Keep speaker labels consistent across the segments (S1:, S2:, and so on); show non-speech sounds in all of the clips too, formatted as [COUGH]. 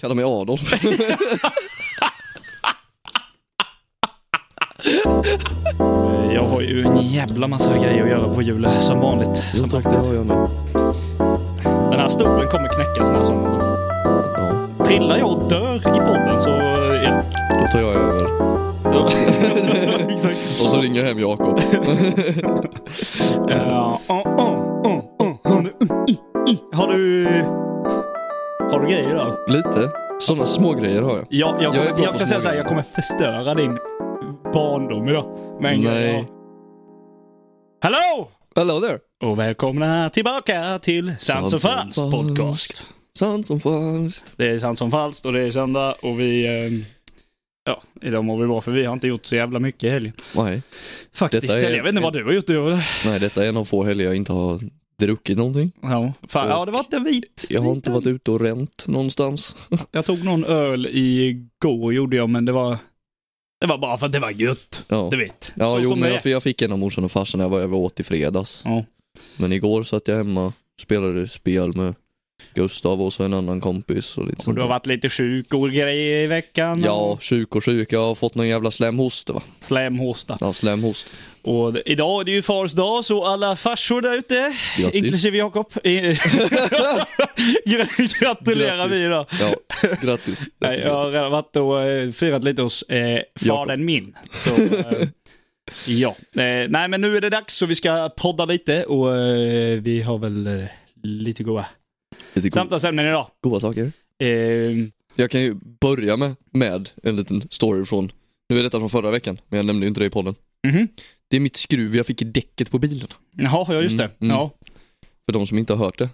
S1: Kallar mig Adolf.
S2: [LAUGHS] Eh, Jag har ju en jävla massa grejer att göra på julen som vanligt. Som
S1: det har jag med.
S2: Den här stolen kommer knäckas den här sommaren.
S1: Ja,
S2: Trillar jag och dör i podden så... eh, Ja. [LAUGHS]
S1: då tar jag över.
S2: Exakt.
S1: Och så ringer jag hem Jakob.
S2: Ja, åh, åh, åh, åh, har du- Uh, i, i. Har du... Har du grejer då?
S1: Lite. Sådana små grejer har jag.
S2: Ja, jag,
S1: Jag är
S2: kommer,
S1: bra
S2: jag,
S1: på små
S2: kan säga så här,
S1: grejer.
S2: jag kommer förstöra din barndom idag. Men
S1: Nej.
S2: Hallå!
S1: Hello there!
S2: Och välkomna tillbaka till Sans och Frans podcast.
S1: Sant som falskt.
S2: Det är sant som falskt och det är söndag och vi... Eh, ja, idag mår vi bra för vi har inte gjort så jävla mycket i helgen.
S1: Nej.
S2: Faktiskt.
S1: Detta är-
S2: Eller Jag vet inte vad du har gjort. Du har...
S1: Nej, detta är en av få helger jag inte har druckit någonting.
S2: Ja, fan, ja, det var inte vit.
S1: Jag har
S2: vit
S1: inte
S2: öl.
S1: varit ute och ränt någonstans.
S2: Jag tog någon öl igår gjorde jag, men det var... Det var bara för att det var gött.
S1: Ja,
S2: Du vet.
S1: ja
S2: Så
S1: jo,
S2: som
S1: men
S2: det
S1: jag, för jag fick en av morsan och farsan när jag var över 80 i fredags.
S2: Ja.
S1: Men igår satt jag hemma, spelade spel med Gustav och så en annan kompis och lite
S2: Och
S1: sånt
S2: du har
S1: där.
S2: varit lite sjuk och grejer i veckan.
S1: Ja,
S2: och
S1: sjuk och sjuk. Jag har fått någon jävla slemhosta va?
S2: Slemhosta.
S1: Ja, slemhost.
S2: Och det- idag är det ju fars dag, så alla farsor där ute,
S1: Grattis.
S2: inklusive Jakob, [LAUGHS] eh, gratulerar
S1: Grattis.
S2: vi idag. [LAUGHS]
S1: Ja, grattis.
S2: Nej, jag har redan varit och eh, firat lite hos eh, fadern min. Så, eh, ja. Eh, nej, men nu är det dags så vi ska podda lite och eh, vi har väl eh, lite goa
S1: Lite go-
S2: samtalsämnen idag.
S1: goda saker.
S2: Eh,
S1: Jag kan ju börja med, med en liten story från, nu är detta från förra veckan, men jag nämnde ju inte det i podden.
S2: Mhm.
S1: Det är mitt skruv jag fick i däcket på bilen.
S2: Jaha, ja just det.
S1: Mm, mm.
S2: Ja,
S1: För de som inte har hört det.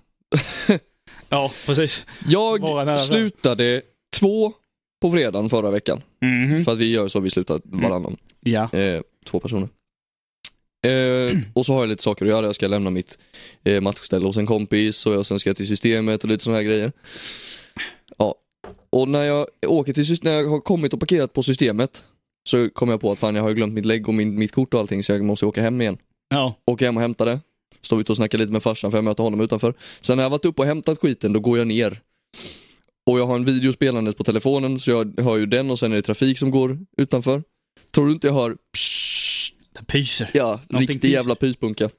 S2: ja, precis. Våra nära
S1: Jag
S2: vän.
S1: slutade två på fredagen förra veckan.
S2: Mhm.
S1: För att vi gör så, vi slutar
S2: Mm.
S1: varannan.
S2: Ja.
S1: Eh, två personer. Eh, och så har jag lite saker att göra. Jag ska lämna mitt eh, matchställe hos en kompis och jag sen ska till systemet och lite sådana här grejer. Ja. Och när jag åker till systemet, när jag har kommit och parkerat på systemet så kommer jag på att fan jag har ju glömt mitt lägg och min, mitt kort och allting så jag måste åka hem igen.
S2: ja.
S1: Åker hem och hämtar det. Står ute och snackar lite med farsan för jag möter honom utanför. Sen när jag varit uppe och hämtat skiten då går jag ner. Och jag har en video spelandes på telefonen så jag hör ju den och sen är det trafik som går utanför. Tror du inte jag hör pssst,
S2: Det pyser.
S1: Ja,
S2: Någonting
S1: riktig
S2: pys.
S1: jävla pyspunka.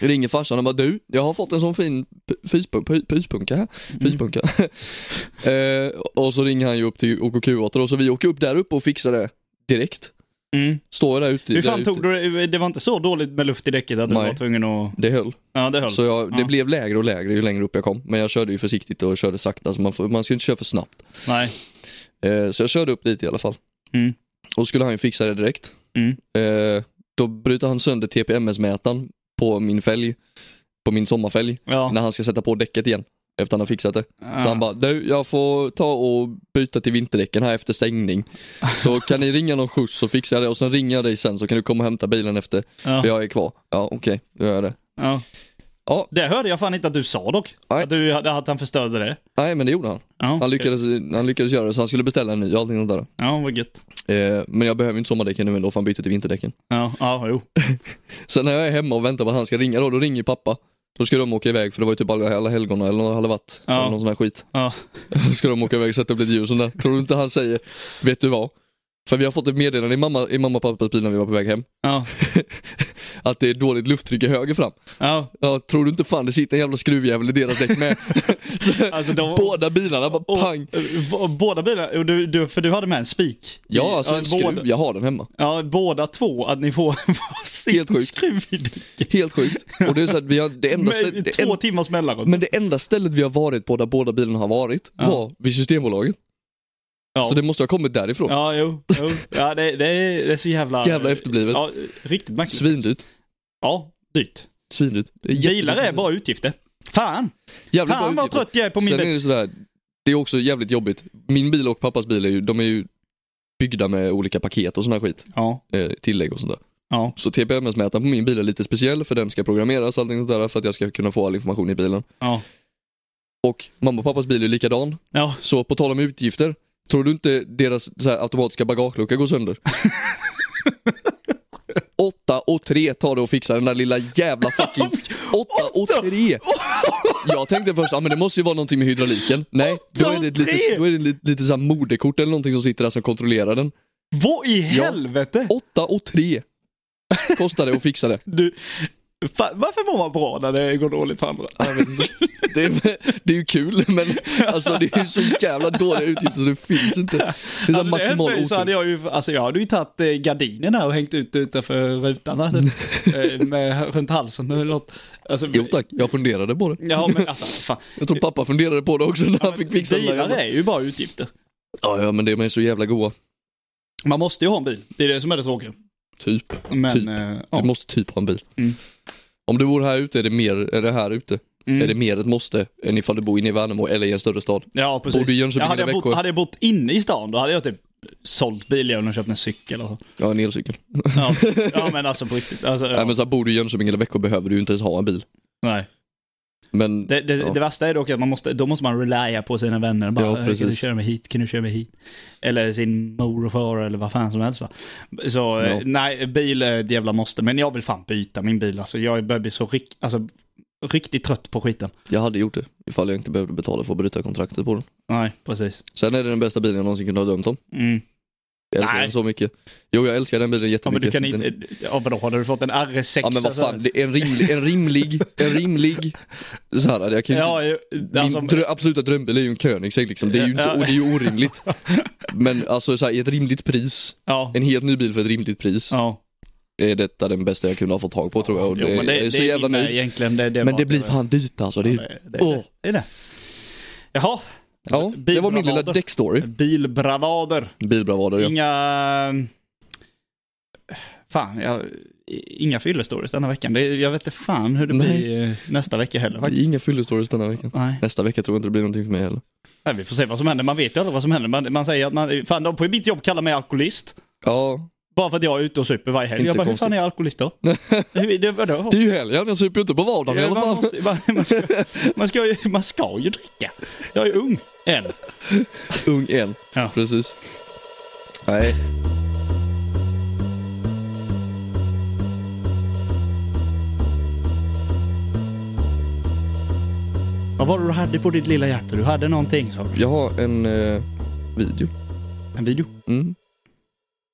S1: Jag ringer farsan och bara du, jag har fått en sån fin p- fyspun- py- pyspunka här.
S2: Mm.
S1: Pyspunka. [LAUGHS] eh, och så ringer han ju upp till OKQ8 och så vi åker upp där uppe och fixar det direkt.
S2: Mm.
S1: Står jag där ute.
S2: Hur
S1: där
S2: fan
S1: ute.
S2: tog du det? Det var inte så dåligt med luft i däcket att du
S1: Nej.
S2: var tvungen att...
S1: Det höll.
S2: Ja, det höll.
S1: Så jag, det
S2: Ja.
S1: blev lägre och lägre ju längre upp jag kom. Men jag körde ju försiktigt och körde sakta, så man, får, man ska ju inte köra för snabbt.
S2: Nej.
S1: Eh, så jag körde upp dit i alla fall.
S2: Mm.
S1: Och skulle han ju fixa det direkt.
S2: Mm.
S1: Eh, då bryter han sönder TPMS-mätaren på min fälg, på min sommarfälg,
S2: Ja.
S1: när han ska sätta på däcket igen. Efter han har fixat det.
S2: Ja.
S1: Så han bara, du jag får ta och byta till vinterdäcken här efter stängning.
S2: [LAUGHS]
S1: Så kan ni ringa någon skjuts så fixar jag det och sen ringer jag dig sen så kan du komma och hämta bilen efter,
S2: Ja.
S1: för jag är kvar. Ja okej, då gör jag det.
S2: Ja.
S1: Ja.
S2: Det hörde jag fan inte att du sa dock.
S1: Nej.
S2: Att, du, att han förstörde det.
S1: Nej men det gjorde han.
S2: Ja,
S1: Han
S2: okej.
S1: lyckades, han lyckades göra det så han skulle beställa en ny och allting sånt där.
S2: Ja, vad gött.
S1: Eh, men jag behöver inte sommardäcken nu ändå för han bytte till vinterdäcken.
S2: Ja, ja jo.
S1: Sen när jag är hemma och väntar på att han ska ringa då, då ringer pappa. Då ska de åka iväg för det var ju typ alla, alla helgon eller någon hade varit.
S2: Ja.
S1: Eller någon sån här skit.
S2: Ja.
S1: Då ska de åka iväg och sätta upp lite ljus och sånt där. Tror du inte han säger, vet du vad? För vi har fått ett meddelande i mamma, i mamma och pappas bil när vi var på väg hem.
S2: Ja,
S1: Att det är dåligt lufttryck i höger fram.
S2: ja.
S1: Ja, tror du inte fan det sitter en jävla skruvjävel i deras däck med? [LAUGHS] Så,
S2: Alltså, de-
S1: Båda bilarna bara
S2: Och,
S1: pang.
S2: och båda bilarna, och du, du, för du hade med en spik.
S1: Ja alltså
S2: Ja,
S1: en skruv,
S2: båda,
S1: jag har den hemma.
S2: ja, båda två, att ni får [LAUGHS] varsin
S1: Helt sjukt.
S2: skruv i däck.
S1: Helt sjukt. Och det är så att vi har, det enda ställ-
S2: Med
S1: det
S2: två
S1: en-
S2: timmars mellanrum.
S1: Men det enda stället vi har varit på där båda bilarna har varit
S2: Ja.
S1: var vid Systembolaget.
S2: Ja.
S1: Så det måste ha kommit därifrån.
S2: Ja, jo. jo. Ja, det, det, är, det är så jävla...
S1: Jävla efterblivet.
S2: Ja, riktigt märkligt.
S1: Svindyrt.
S2: Ja, dyrt.
S1: Svindyrt. Det är
S2: Bilar är
S1: jättedyrt.
S2: bara utgifter. Fan!
S1: Jävligt
S2: Fan
S1: bra
S2: vad
S1: utgifter.
S2: trött jag är på min
S1: Sen
S2: bil.
S1: är det sådär, det är också jävligt jobbigt. Min bil och pappas bil är ju, de är ju byggda med olika paket och sån här skit.
S2: Ja,
S1: Eh, tillägg och sånt där.
S2: ja.
S1: Så TPMS-mätaren på min bil är lite speciell för den ska programmeras och allting sånt där för att jag ska kunna få all information i bilen.
S2: Ja.
S1: Och mamma och pappas bil är ju likadan.
S2: Ja.
S1: Så på tal om utgifter, tror du inte deras så här, automatiska bagagelucka går sönder? [LAUGHS] [LAUGHS] Åtta och tre tar det att fixa den där lilla jävla fucking... Åtta och tre! Jag tänkte först, ja men det måste ju vara någonting med hydrauliken. Nej, då är det ett litet, då är det lite, lite så här moderkort eller någonting som sitter där som kontrollerar den.
S2: Vad i helvete?
S1: 8 och 3 kostar det att fixa det.
S2: Du, fa- varför mår man bra när det går dåligt för andra?
S1: Jag vet inte. Det är, det är ju kul men alltså det är ju så jävla dåliga utgifter så det finns inte. Det är så här
S2: Hade Alltså, det hänt
S1: maximal
S2: mig så hade
S1: otur.
S2: jag ju, alltså jag hade ju tagit eh, gardinen här och hängt ut det utanför rutan [LAUGHS] här, typ. Eh, med, runt halsen eller något. Alltså,
S1: Jo tack, jag funderade på det.
S2: Ja men alltså [LAUGHS] fan.
S1: Jag tror pappa funderade på det också när han fick fixa den där
S2: Bilar
S1: jävla-
S2: är ju bara utgifter.
S1: Ja, ja men de är så jävla goa.
S2: Man måste ju ha en bil, det är det som är det tråkiga.
S1: Typ.
S2: Men,
S1: Typ.
S2: eh,
S1: Du
S2: ja.
S1: måste typ ha en bil.
S2: Mm.
S1: Om du bor här ute är det mer, är det här ute?
S2: Mm.
S1: Är det mer ett måste än ifall du bor inne i Värnamo eller i en större stad?
S2: Ja, precis.
S1: Bor du i Jönköping
S2: ja, hade, jag
S1: eller
S2: bott,
S1: Växjö?
S2: hade jag bott inne i stan, då hade jag typ sålt bilen och köpt en cykel. Och så.
S1: Ja, en elcykel.
S2: Ja, ja, men alltså på riktigt. Alltså, ja.
S1: Nej, men så här, bor du i Jönköping eller Växjö behöver du ju inte ens ha en bil.
S2: Nej.
S1: Men
S2: Det, det,
S1: Ja.
S2: det värsta är dock att man måste, då måste man relya på sina vänner. Bara,
S1: Ja,
S2: "Eh, kan du
S1: precis.
S2: köra mig hit? Kan du köra mig hit? Eller sin mor och far eller vad fan som helst va. Så eh,
S1: Ja.
S2: nej, bil är ett jävla måste. Men jag vill fan byta min bil. Alltså, jag börjar bli så rikt, alltså, riktigt trött på skiten.
S1: jag hade gjort det ifall jag inte behövde betala för att bryta kontraktet på den.
S2: Nej, precis.
S1: Sen är det den bästa bilen jag någonsin kunde ha dömt om.
S2: Mm.
S1: Jag älskar
S2: Nej.
S1: den så mycket. Jo, jag älskar den bilen
S2: Ja, men du
S1: jättemycket.
S2: kan
S1: den...
S2: inte, ja, vadå, har du fått en RS6?
S1: Ja men vad
S2: alltså?
S1: fan, det är en rimlig, en rimlig, en
S2: [LAUGHS]
S1: rimlig, så här, jag kan ju inte
S2: Ja, ju- alltså,
S1: Min drö- absoluta drömbil är ju en Koenigsegg liksom. Det är ju, inte,
S2: Ja.
S1: och det är ju
S2: [LAUGHS]
S1: orimligt. Men alltså så här, i ett rimligt pris,
S2: ja.
S1: en helt ny bil för ett rimligt pris,
S2: Ja.
S1: är detta den bästa jag kunde ha fått tag på tror jag. Och det,
S2: Jo, men
S1: jag är så jävla
S2: med
S1: nöjd.
S2: Egentligen, det, det
S1: Men
S2: var
S1: det
S2: att
S1: blir
S2: var-
S1: fan dyrt alltså. Det,
S2: Ja,
S1: är-
S2: det, det,
S1: Åh.
S2: det är det. Jaha,
S1: ja, det var min lilla
S2: bilbravader.
S1: däckstory.
S2: bilbravader.
S1: Bilbravader ja.
S2: Inga... Fan, jag... Inga fyllestories denna veckan. Det, jag vet inte fan hur det
S1: Nej.
S2: blir eh, nästa vecka heller
S1: Det är
S2: faktiskt.
S1: Inga fyllestories denna veckan.
S2: Nej.
S1: Nästa vecka tror jag inte det blir någonting för mig heller.
S2: Nej, vi får se vad som händer. Man vet ju aldrig vad som händer. Man, man säger att man, fan de på mitt jobb kallar mig alkoholist.
S1: Ja,
S2: Bara för att jag är ute och super varje helg.
S1: Inte
S2: Jag bara, hur fan
S1: konstigt.
S2: är jag
S1: [LAUGHS]
S2: alkoholist då? hur, det, vadå?
S1: det är ju helgen. Jag super ju inte på vardagen i
S2: Ja,
S1: alla
S2: man,
S1: fall.
S2: måste, man, man, ska, man, ska, ju- man ska ju dricka. Jag är ung än.
S1: [LAUGHS] Ung en.
S2: Ja.
S1: Precis. Nej.
S2: Vad var det du hade på ditt lilla hjärta? Du hade någonting sa du.
S1: Jag har en eh, video.
S2: En video.
S1: Mm.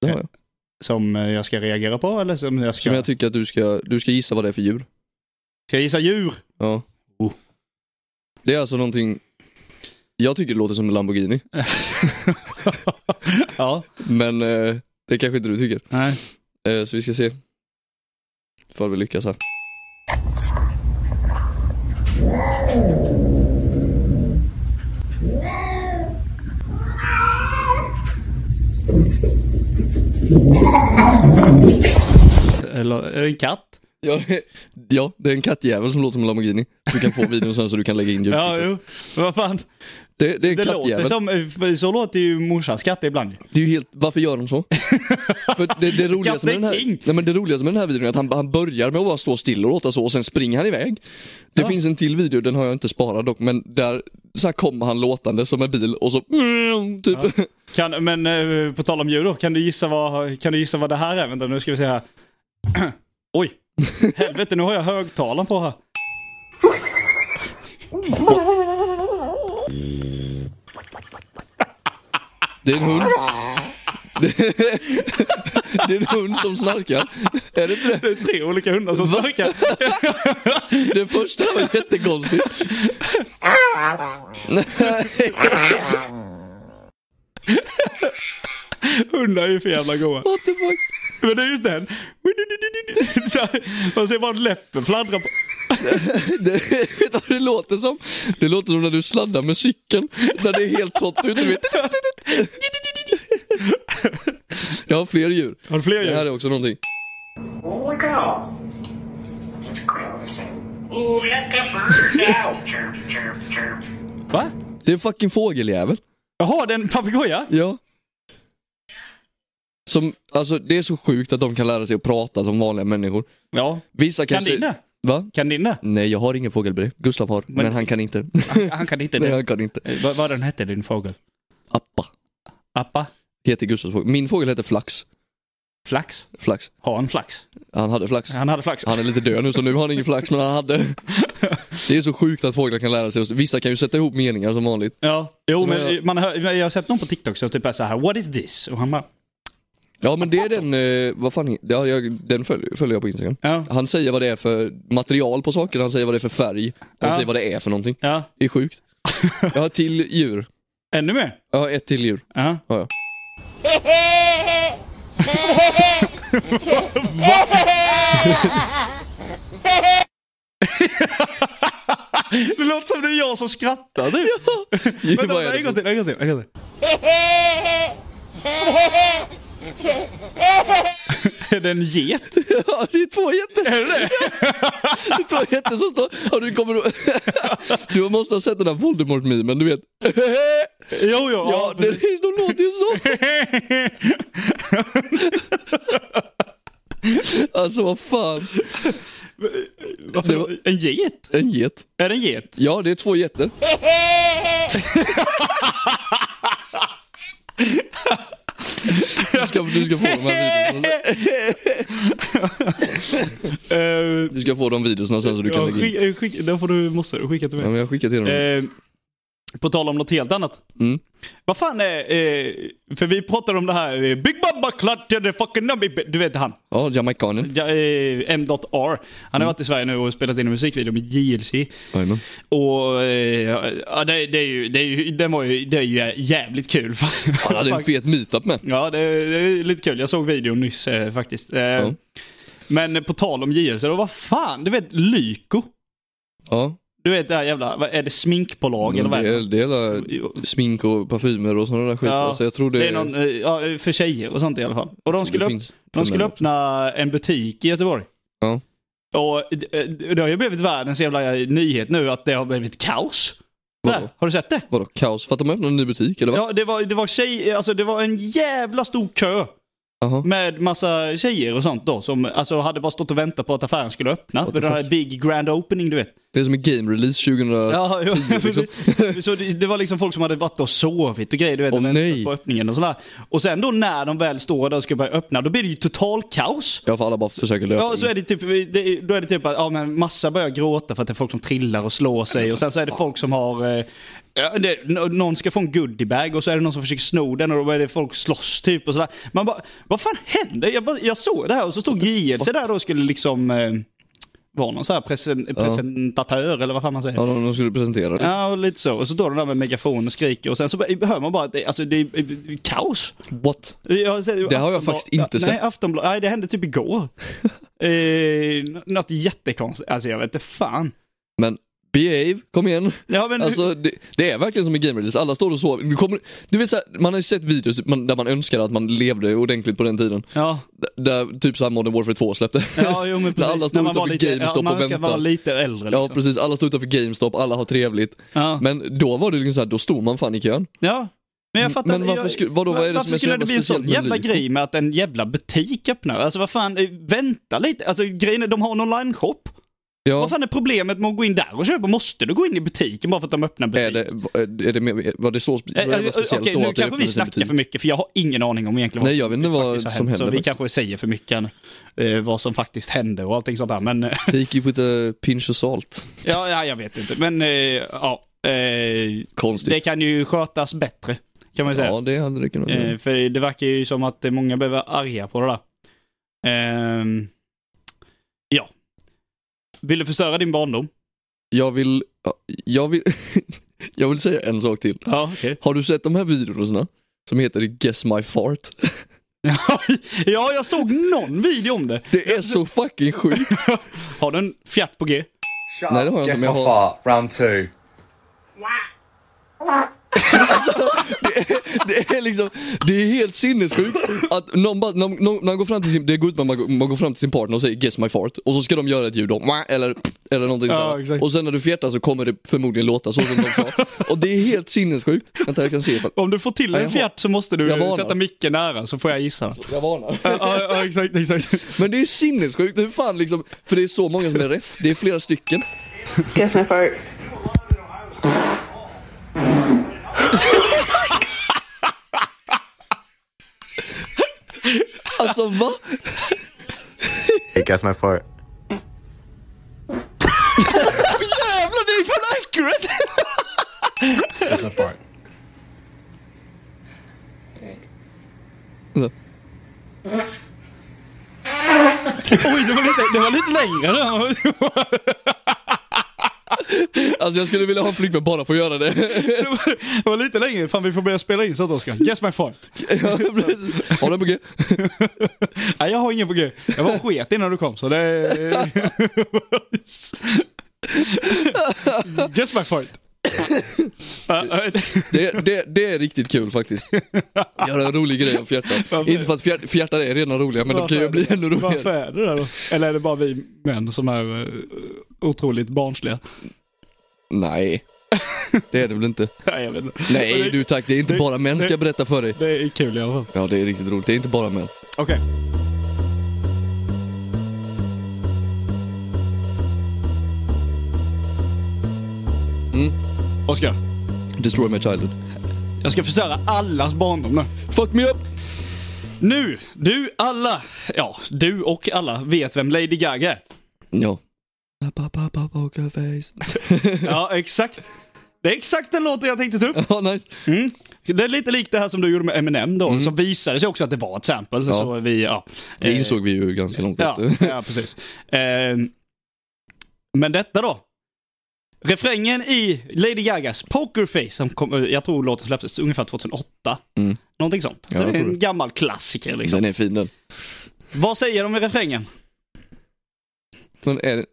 S1: Det har jag.
S2: Som eh, jag ska reagera på eller som jag ska...
S1: Som jag tycker att du ska, du ska gissa vad det är för djur.
S2: Ska jag gissa djur?
S1: Ja.
S2: Oh.
S1: Det är alltså någonting, jag tycker det låter som en Lamborghini,
S2: [LAUGHS] ja.
S1: men eh, det kanske inte du tycker.
S2: Nej.
S1: Eh, så vi ska se. Ifall vi lyckas här.
S2: Eller är det en katt?
S1: Ja, det- ja, det är en kattjävel som låter som en Lamborghini. Du kan få videon sen så du kan lägga in
S2: [LAUGHS] Ja,
S1: ljudklippet.
S2: jo. Men Vad fan.
S1: det, det är en
S2: Det låter
S1: kattjävel.
S2: som... eh, Så låter ju morsans katt ibland ju.
S1: Det är ju helt, varför gör de
S2: [LAUGHS]
S1: så? För det, det, roligaste med den här,
S2: King.
S1: nej men det roligaste med den här videon är att han, han börjar med att bara stå still och låta så och sen springer han iväg. Det
S2: Ja.
S1: finns en till video, den har jag inte sparat dock, men där så här kommer han låtande som en bil och så mm, typ.
S2: Kan, men eh, på tal om djur då. Kan du gissa vad, kan du gissa vad det här är? Vänta nu ska vi se här. [CLEARS THROAT] Oj. Helvete nu har jag högtalaren på här.
S1: Det är en hund. Det, [LAUGHS] det är en hund som snarkar. Är det inte det?
S2: Det är tre olika hundar som snarkar.
S1: Det första var
S2: [LAUGHS]
S1: jättekonstigt. [LAUGHS] Nej,
S2: Hundar är ju för jävla goa.
S1: what the fuck.
S2: Men det är just den. Så här, Man ser bara läppen fladdra på.
S1: Det, [LAUGHS] vet du vad det låter som? Det låter som när du sladdar med cykeln. När det är helt torrt ute. du vet. [LAUGHS] Jag har fler djur.
S2: Har du fler
S1: Det här är
S2: djur?
S1: också någonting.
S3: Look out! It's closing. Let the birds out! chirp, chirp, chirp.
S2: Va?
S1: Det är en fucking fågeljävel.
S2: Jaha, det är en papegoja?
S1: Ja. Som, alltså det är så sjukt att de kan lära sig att prata som vanliga människor.
S2: Ja.
S1: Vissa
S2: Kan
S1: kanske...
S2: din det?
S1: Va?
S2: Kan din det?
S1: Nej, jag har ingen fågelbre. Gustav har, men, han kan inte.
S2: Han kan
S1: [LAUGHS]
S2: inte
S1: Nej,
S2: det.
S1: han kan inte.
S2: Eh, Vad, vad den hette din fågel?
S1: Appa
S2: Appa?
S1: heter Gustavs fågel. Min fågel heter Flax.
S2: Flax.
S1: Flax.
S2: Har han flax?
S1: Han hade flax.
S2: Han hade flax.
S1: Han är lite död nu så nu har han ingen flax men han hade. Det är så sjukt att fåglar kan lära sig. Vissa kan ju sätta ihop meningar som vanligt.
S2: Ja, jo
S1: Som
S2: men
S1: jag-
S2: man hör, jag har sett någon på TikTok som typ är så här What is this? Och han bara,
S1: Ja men det är den, eh, vad fan, he- ja, jag, den följer, följer jag på Instagram.
S2: ja,
S1: Han säger vad det är för material på saker, han säger vad det är för färg, han
S2: Ja.
S1: säger vad det är för någonting.
S2: ja,
S1: Det är sjukt. Jag har till djur.
S2: ännu mer?
S1: Jag har ett till djur.
S2: Ja.
S1: Har jag.
S2: [LAUGHS] Det låter som det är jag som skrattar nu.
S1: [LAUGHS]
S2: Vänta,
S1: vad är
S2: vänta,
S1: det?
S2: en gång till, en gång till, en gång till. Är det en [LAUGHS]
S1: [LAUGHS]
S2: get?
S1: Ja, det är två jätter. Är det det? är två jätter som står... Ja, du, [LAUGHS] kommer... att- du måste ha sett den där Voldemort-memen, du vet.
S2: [LAUGHS] Jo, jo.
S1: Ja, det,
S2: precis. [LAUGHS]
S1: de låter ju så. Alltså vad fan.
S2: Varför?
S1: Det var-
S2: En get?
S1: En get.
S2: Är det en get?
S1: Ja, det är två getter. [LAUGHS] Du ska, du ska få de här videorna.
S2: Uh,
S1: Du ska få de videorna sen så du kan lägga in.
S2: skick, skick, den eh, får du, måste du skicka till
S1: Ja,
S2: mig.
S1: men jag skickar till dem.
S2: Eh, på tal om något helt annat.
S1: Mm.
S2: Vad fan är... Eh, för vi pratade om det här. eh, Big Baba Clutter, fucking nummy. Du vet han.
S1: Ja, jamaikanen.
S2: Ja, eh, M.R. Han
S1: Mm.
S2: har varit i Sverige nu och spelat in en musikvideo med JLC.
S1: Jajamän.
S2: Och eh, ja, det, det, är ju, det, är ju, den var ju, det är ju jävligt kul.
S1: Han hade en
S2: Fakt-
S1: fet meetup med.
S2: Ja, det är, det är lite kul. Jag såg videon nyss eh, faktiskt. Eh,
S1: Ja.
S2: Men på tal om JLC, då, vad fan, du vet Lyko?
S1: Ja,
S2: Du vet det här jävla, vad är det sminkbolag eller
S1: Mm, det
S2: vad är det?
S1: är, det är alla smink och parfymer och sådana där skit.
S2: Ja,
S1: Alltså, jag tror det,
S2: Det är någon, eh, ja, för tjejer och sånt i alla fall. Och de
S1: det
S2: skulle, upp,
S1: finns
S2: de
S1: för
S2: skulle
S1: män.
S2: öppna en butik i Göteborg.
S1: Ja.
S2: Och eh, det, det har ju blivit världens jävla eh, nyhet nu att det har blivit kaos. Där,
S1: Vadå?
S2: har du sett det?
S1: Vadå kaos? För att de öppnade en ny butik eller vad?
S2: Ja, det var, det var tjej, alltså det var en jävla stor kö
S1: Jaha.
S2: med massa tjejer och sånt då som alltså hade bara stått och väntat på att affären skulle öppna.
S1: What
S2: Med
S1: the
S2: den här
S1: fuck?
S2: big grand opening du vet.
S1: Det är som en game release 2000.
S2: Ja, ja
S1: liksom.
S2: [LAUGHS] precis. Så det, det var liksom folk som hade varit och sovit och grejer, du vet,
S1: Åh,
S2: och väntat
S1: nej.
S2: på öppningen och sådär. Och sen då när de väl står där och ska börja öppna, då blir det ju total kaos.
S1: Ja, för alla bara försöker löpa.
S2: Ja, så är det typ, det, då är det typ att ja, men massa börjar gråta för att det är folk som trillar och slår sig. Och sen så är det folk som har... eh, ja, Det, n- någon ska få en goodiebag och så är det någon som försöker sno den och då är det folk slåss typ och sådär. Man bara, vad fan händer? Jag, bara, jag såg det här och så stod JLC där då och skulle liksom eh, vara någon så här presen, presentatör eller vad fan man säger.
S1: Ja, de, de skulle presentera det.
S2: Ja, och lite så. Och så står de där med megafon och skriker och sen så bara- hör man bara att det, alltså, det är eh, kaos.
S1: What?
S2: Jag har sett-
S1: Det har jag
S2: Aftonbla-
S1: faktiskt inte
S2: nej,
S1: sett.
S2: Aftonbladet, nej, det hände
S1: [LAUGHS]
S2: typ igår. eh, n- något jättekonstigt. Alltså jag vet inte fan.
S1: Men behave, kom igen.
S2: Ja, men
S1: Alltså det, det är verkligen som en game release, alla står och sover. Du, kommer, du vet, så här, man har ju sett videos man, där man önskar att man levde ordentligt på den tiden.
S2: ja,
S1: D- där typ såhär Modern Warfare 2 släppte.
S2: ja, jo
S1: [LAUGHS]
S2: men
S1: Där
S2: precis.
S1: alla står utanför
S2: ja,
S1: GameStop
S2: man
S1: och
S2: önskar vara
S1: väntar.
S2: lite äldre
S1: Ja
S2: liksom.
S1: precis, alla står utanför GameStop, alla har trevligt.
S2: Ja, men,
S1: Men då var det liksom såhär, då stod man fan i kön.
S2: ja. men jag fattar
S1: Men
S2: inte,
S1: varför
S2: jag-
S1: sku- vadå, vad är det
S2: varför
S1: som är så
S2: skulle
S1: jävla
S2: det bli en sån
S1: speciellt med
S2: jävla
S1: Lyko?
S2: grej med att en jävla butik öppnar? Alltså vad fan, eh, vänta lite. Alltså grejen är, de har en online-shop.
S1: Ja,
S2: Vad fan är problemet med att gå in där och köpa? Måste du gå in i butiken bara för att de öppnar butik?
S1: är det, är det, mer- var det så, spe- så
S2: Eh, eh,
S1: jävla
S2: Okej,
S1: speciellt då
S2: nu
S1: att det
S2: kanske vi
S1: öppnades en
S2: snackar
S1: butik?
S2: för mycket, för jag har ingen aning om egentligen
S1: Nej, jag vet inte vad
S2: faktiskt har
S1: som
S2: hänt, Så
S1: händer
S2: vi
S1: faktiskt.
S2: kanske säger för mycket eh, vad som faktiskt hände och allting sånt där. Men, [LAUGHS] eh,
S1: Take it with a pinch of salt.
S2: ja, ja, jag vet inte. Men eh, ja, eh,
S1: Konstigt.
S2: det kan ju skötas bättre, kan man ju säga.
S1: Ja, det hade det kunnat vara.
S2: Eh, för det verkar ju som att många behöver arga på det där. Ehm, ja. Vill du förstöra din barndom?
S1: Jag vill, ja, jag vill, [LAUGHS] jag vill säga en sak till.
S2: Ja, okej.
S1: Har du sett de här videorna som heter Guess My Fart?
S2: [LAUGHS] ja, jag såg någon video om det.
S1: Det är så fucking sjukt.
S2: Har du en fjärt på G?
S4: Shut
S1: Nej, det har
S4: up.
S1: jag
S4: Guess
S1: inte,
S4: my
S1: men jag har-
S4: fart. Round two.
S1: Det är liksom, det är helt sinnessjukt att någon, bara, någon, någon, när man går fram till sin, det går ut med att man, går- man går fram till sin partner och säger Guess My Fart och så ska de göra ett ljud då, "Mwah", eller eller någonting
S2: Ja,
S1: sådär.
S2: exakt.
S1: Och sen när du fjärtar så kommer det förmodligen låta så som de sa. Och det är helt sinnessjukt. Vänta jag kan se ifall,
S2: Om du får till
S1: Ja,
S2: en
S1: jag
S2: fjärt så måste du
S1: jag varnar.
S2: sätta mycket nära så får jag gissa.
S1: jag varnar.
S2: ja, ja, exakt, exakt.
S1: Men det är sinnessjukt, hur fan liksom, för det är så många som är rätt. Det är flera stycken.
S5: Guess my fart.
S1: Alltså va?
S4: Hey, guess my fart.
S1: Jävlar det är fan accurate!
S4: Guess my fart.
S2: Oj, det var lite, det var lite längre. då.
S1: Alltså jag skulle vilja ha en flickvän bara för att göra det.
S2: Det var, det var lite längre. Fan, vi får börja spela in sånt, Oskar. Guess my fart.
S1: Ja, precis. Har du en på G?
S2: Nej, jag har ingen på G. Jag var sket innan du kom, så det... Guess my fart. Ja, jag vet.
S1: Det, det, det är riktigt kul faktiskt. Göra en rolig grej av fjärtar.
S2: Varför?
S1: Inte för att fjärt, fjärtar är redan roliga men de kan ju bli ännu
S2: Varför
S1: roligare.
S2: är det där då? Eller är det bara vi män som är eh, otroligt barnsliga?
S1: Nej, det är det väl [LAUGHS] inte.
S2: Nej, jag vet inte.
S1: Nej
S2: det,
S1: du tack, det är inte
S2: det-
S1: bara män ska
S2: det-
S1: jag berätta för dig.
S2: Det är kul i alla fall.
S1: Ja det är riktigt roligt, det är inte bara män.
S2: Okej.
S1: Mm.
S2: Oskar,
S1: Destroy my childhood.
S2: jag ska förstöra allas barndom nu.
S1: Fuck me up!
S2: Nu, du alla, ja, du och alla vet vem Lady Gaga är.
S1: Ja. Pokerface.
S2: Ja, exakt. Det är exakt den låten jag tänkte ta upp.
S1: [LAUGHS] Ja nice.
S2: Mm. Det är lite likt det här som du gjorde med Eminem då, som visade sig också att det var ett sample. Så vi, ja.
S1: Mm. Det
S2: Eh,
S1: insåg vi ju ganska långt
S2: Ja,
S1: efter.
S2: ja precis. Eh, men detta då? Refrängen i Lady Gagas Pokerface, som kom, jag tror låten släpptes ungefär 2008.
S1: Mm.
S2: Någonting sånt.
S1: Ja,
S2: det
S1: jag
S2: är
S1: tror
S2: en
S1: det.
S2: gammal klassiker liksom.
S1: [LAUGHS] Den är fin den.
S2: Vad säger de i refrängen?
S1: Men är det...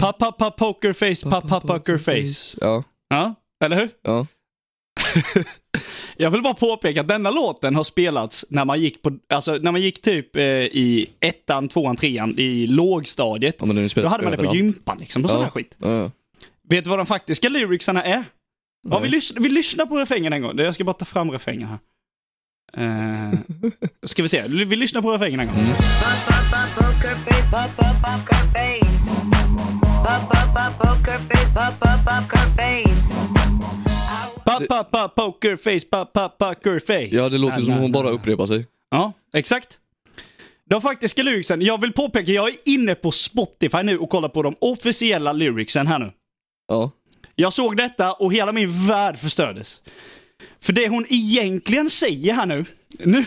S2: Pa-pa-pa pokerface, pa-pa pokerface.
S1: Ja,
S2: Ja, eller hur?
S1: ja.
S2: Jag vill bara påpeka att denna låten har spelats när man gick, på, alltså, när man gick typ eh, i ettan, tvåan, trean i lågstadiet.
S1: ja men den är
S2: Då
S1: spelad
S2: hade man det på
S1: överallt.
S2: gympan liksom, och sån
S1: Ja.
S2: här skit.
S1: Ja, ja.
S2: Vet du vad de faktiska lyricsarna är? Ja, vi, lyssnar, vi lyssnar på refrängen en gång. Jag ska bara ta fram refrängen här. Eh, ska vi se, vi lyssnar på refrängen en gång.
S1: Mm.
S5: Bop, bop, bop, poker face, bop, bop, bop, her face. Bop, bop, bop, poker face, bop, bop, bop, her face.
S2: Pa, pa, pa, poker face, pa, pa, poker face.
S1: ja det låter ju som
S2: Na, na,
S1: hon bara
S2: na.
S1: upprepar sig.
S2: Ja, exakt. De faktiska lyricsen, jag vill påpeka, jag är inne på Spotify nu och kollar på de officiella lyricsen här nu.
S1: Ja.
S2: Jag såg detta och hela min värld förstördes. För det hon egentligen säger här nu, nu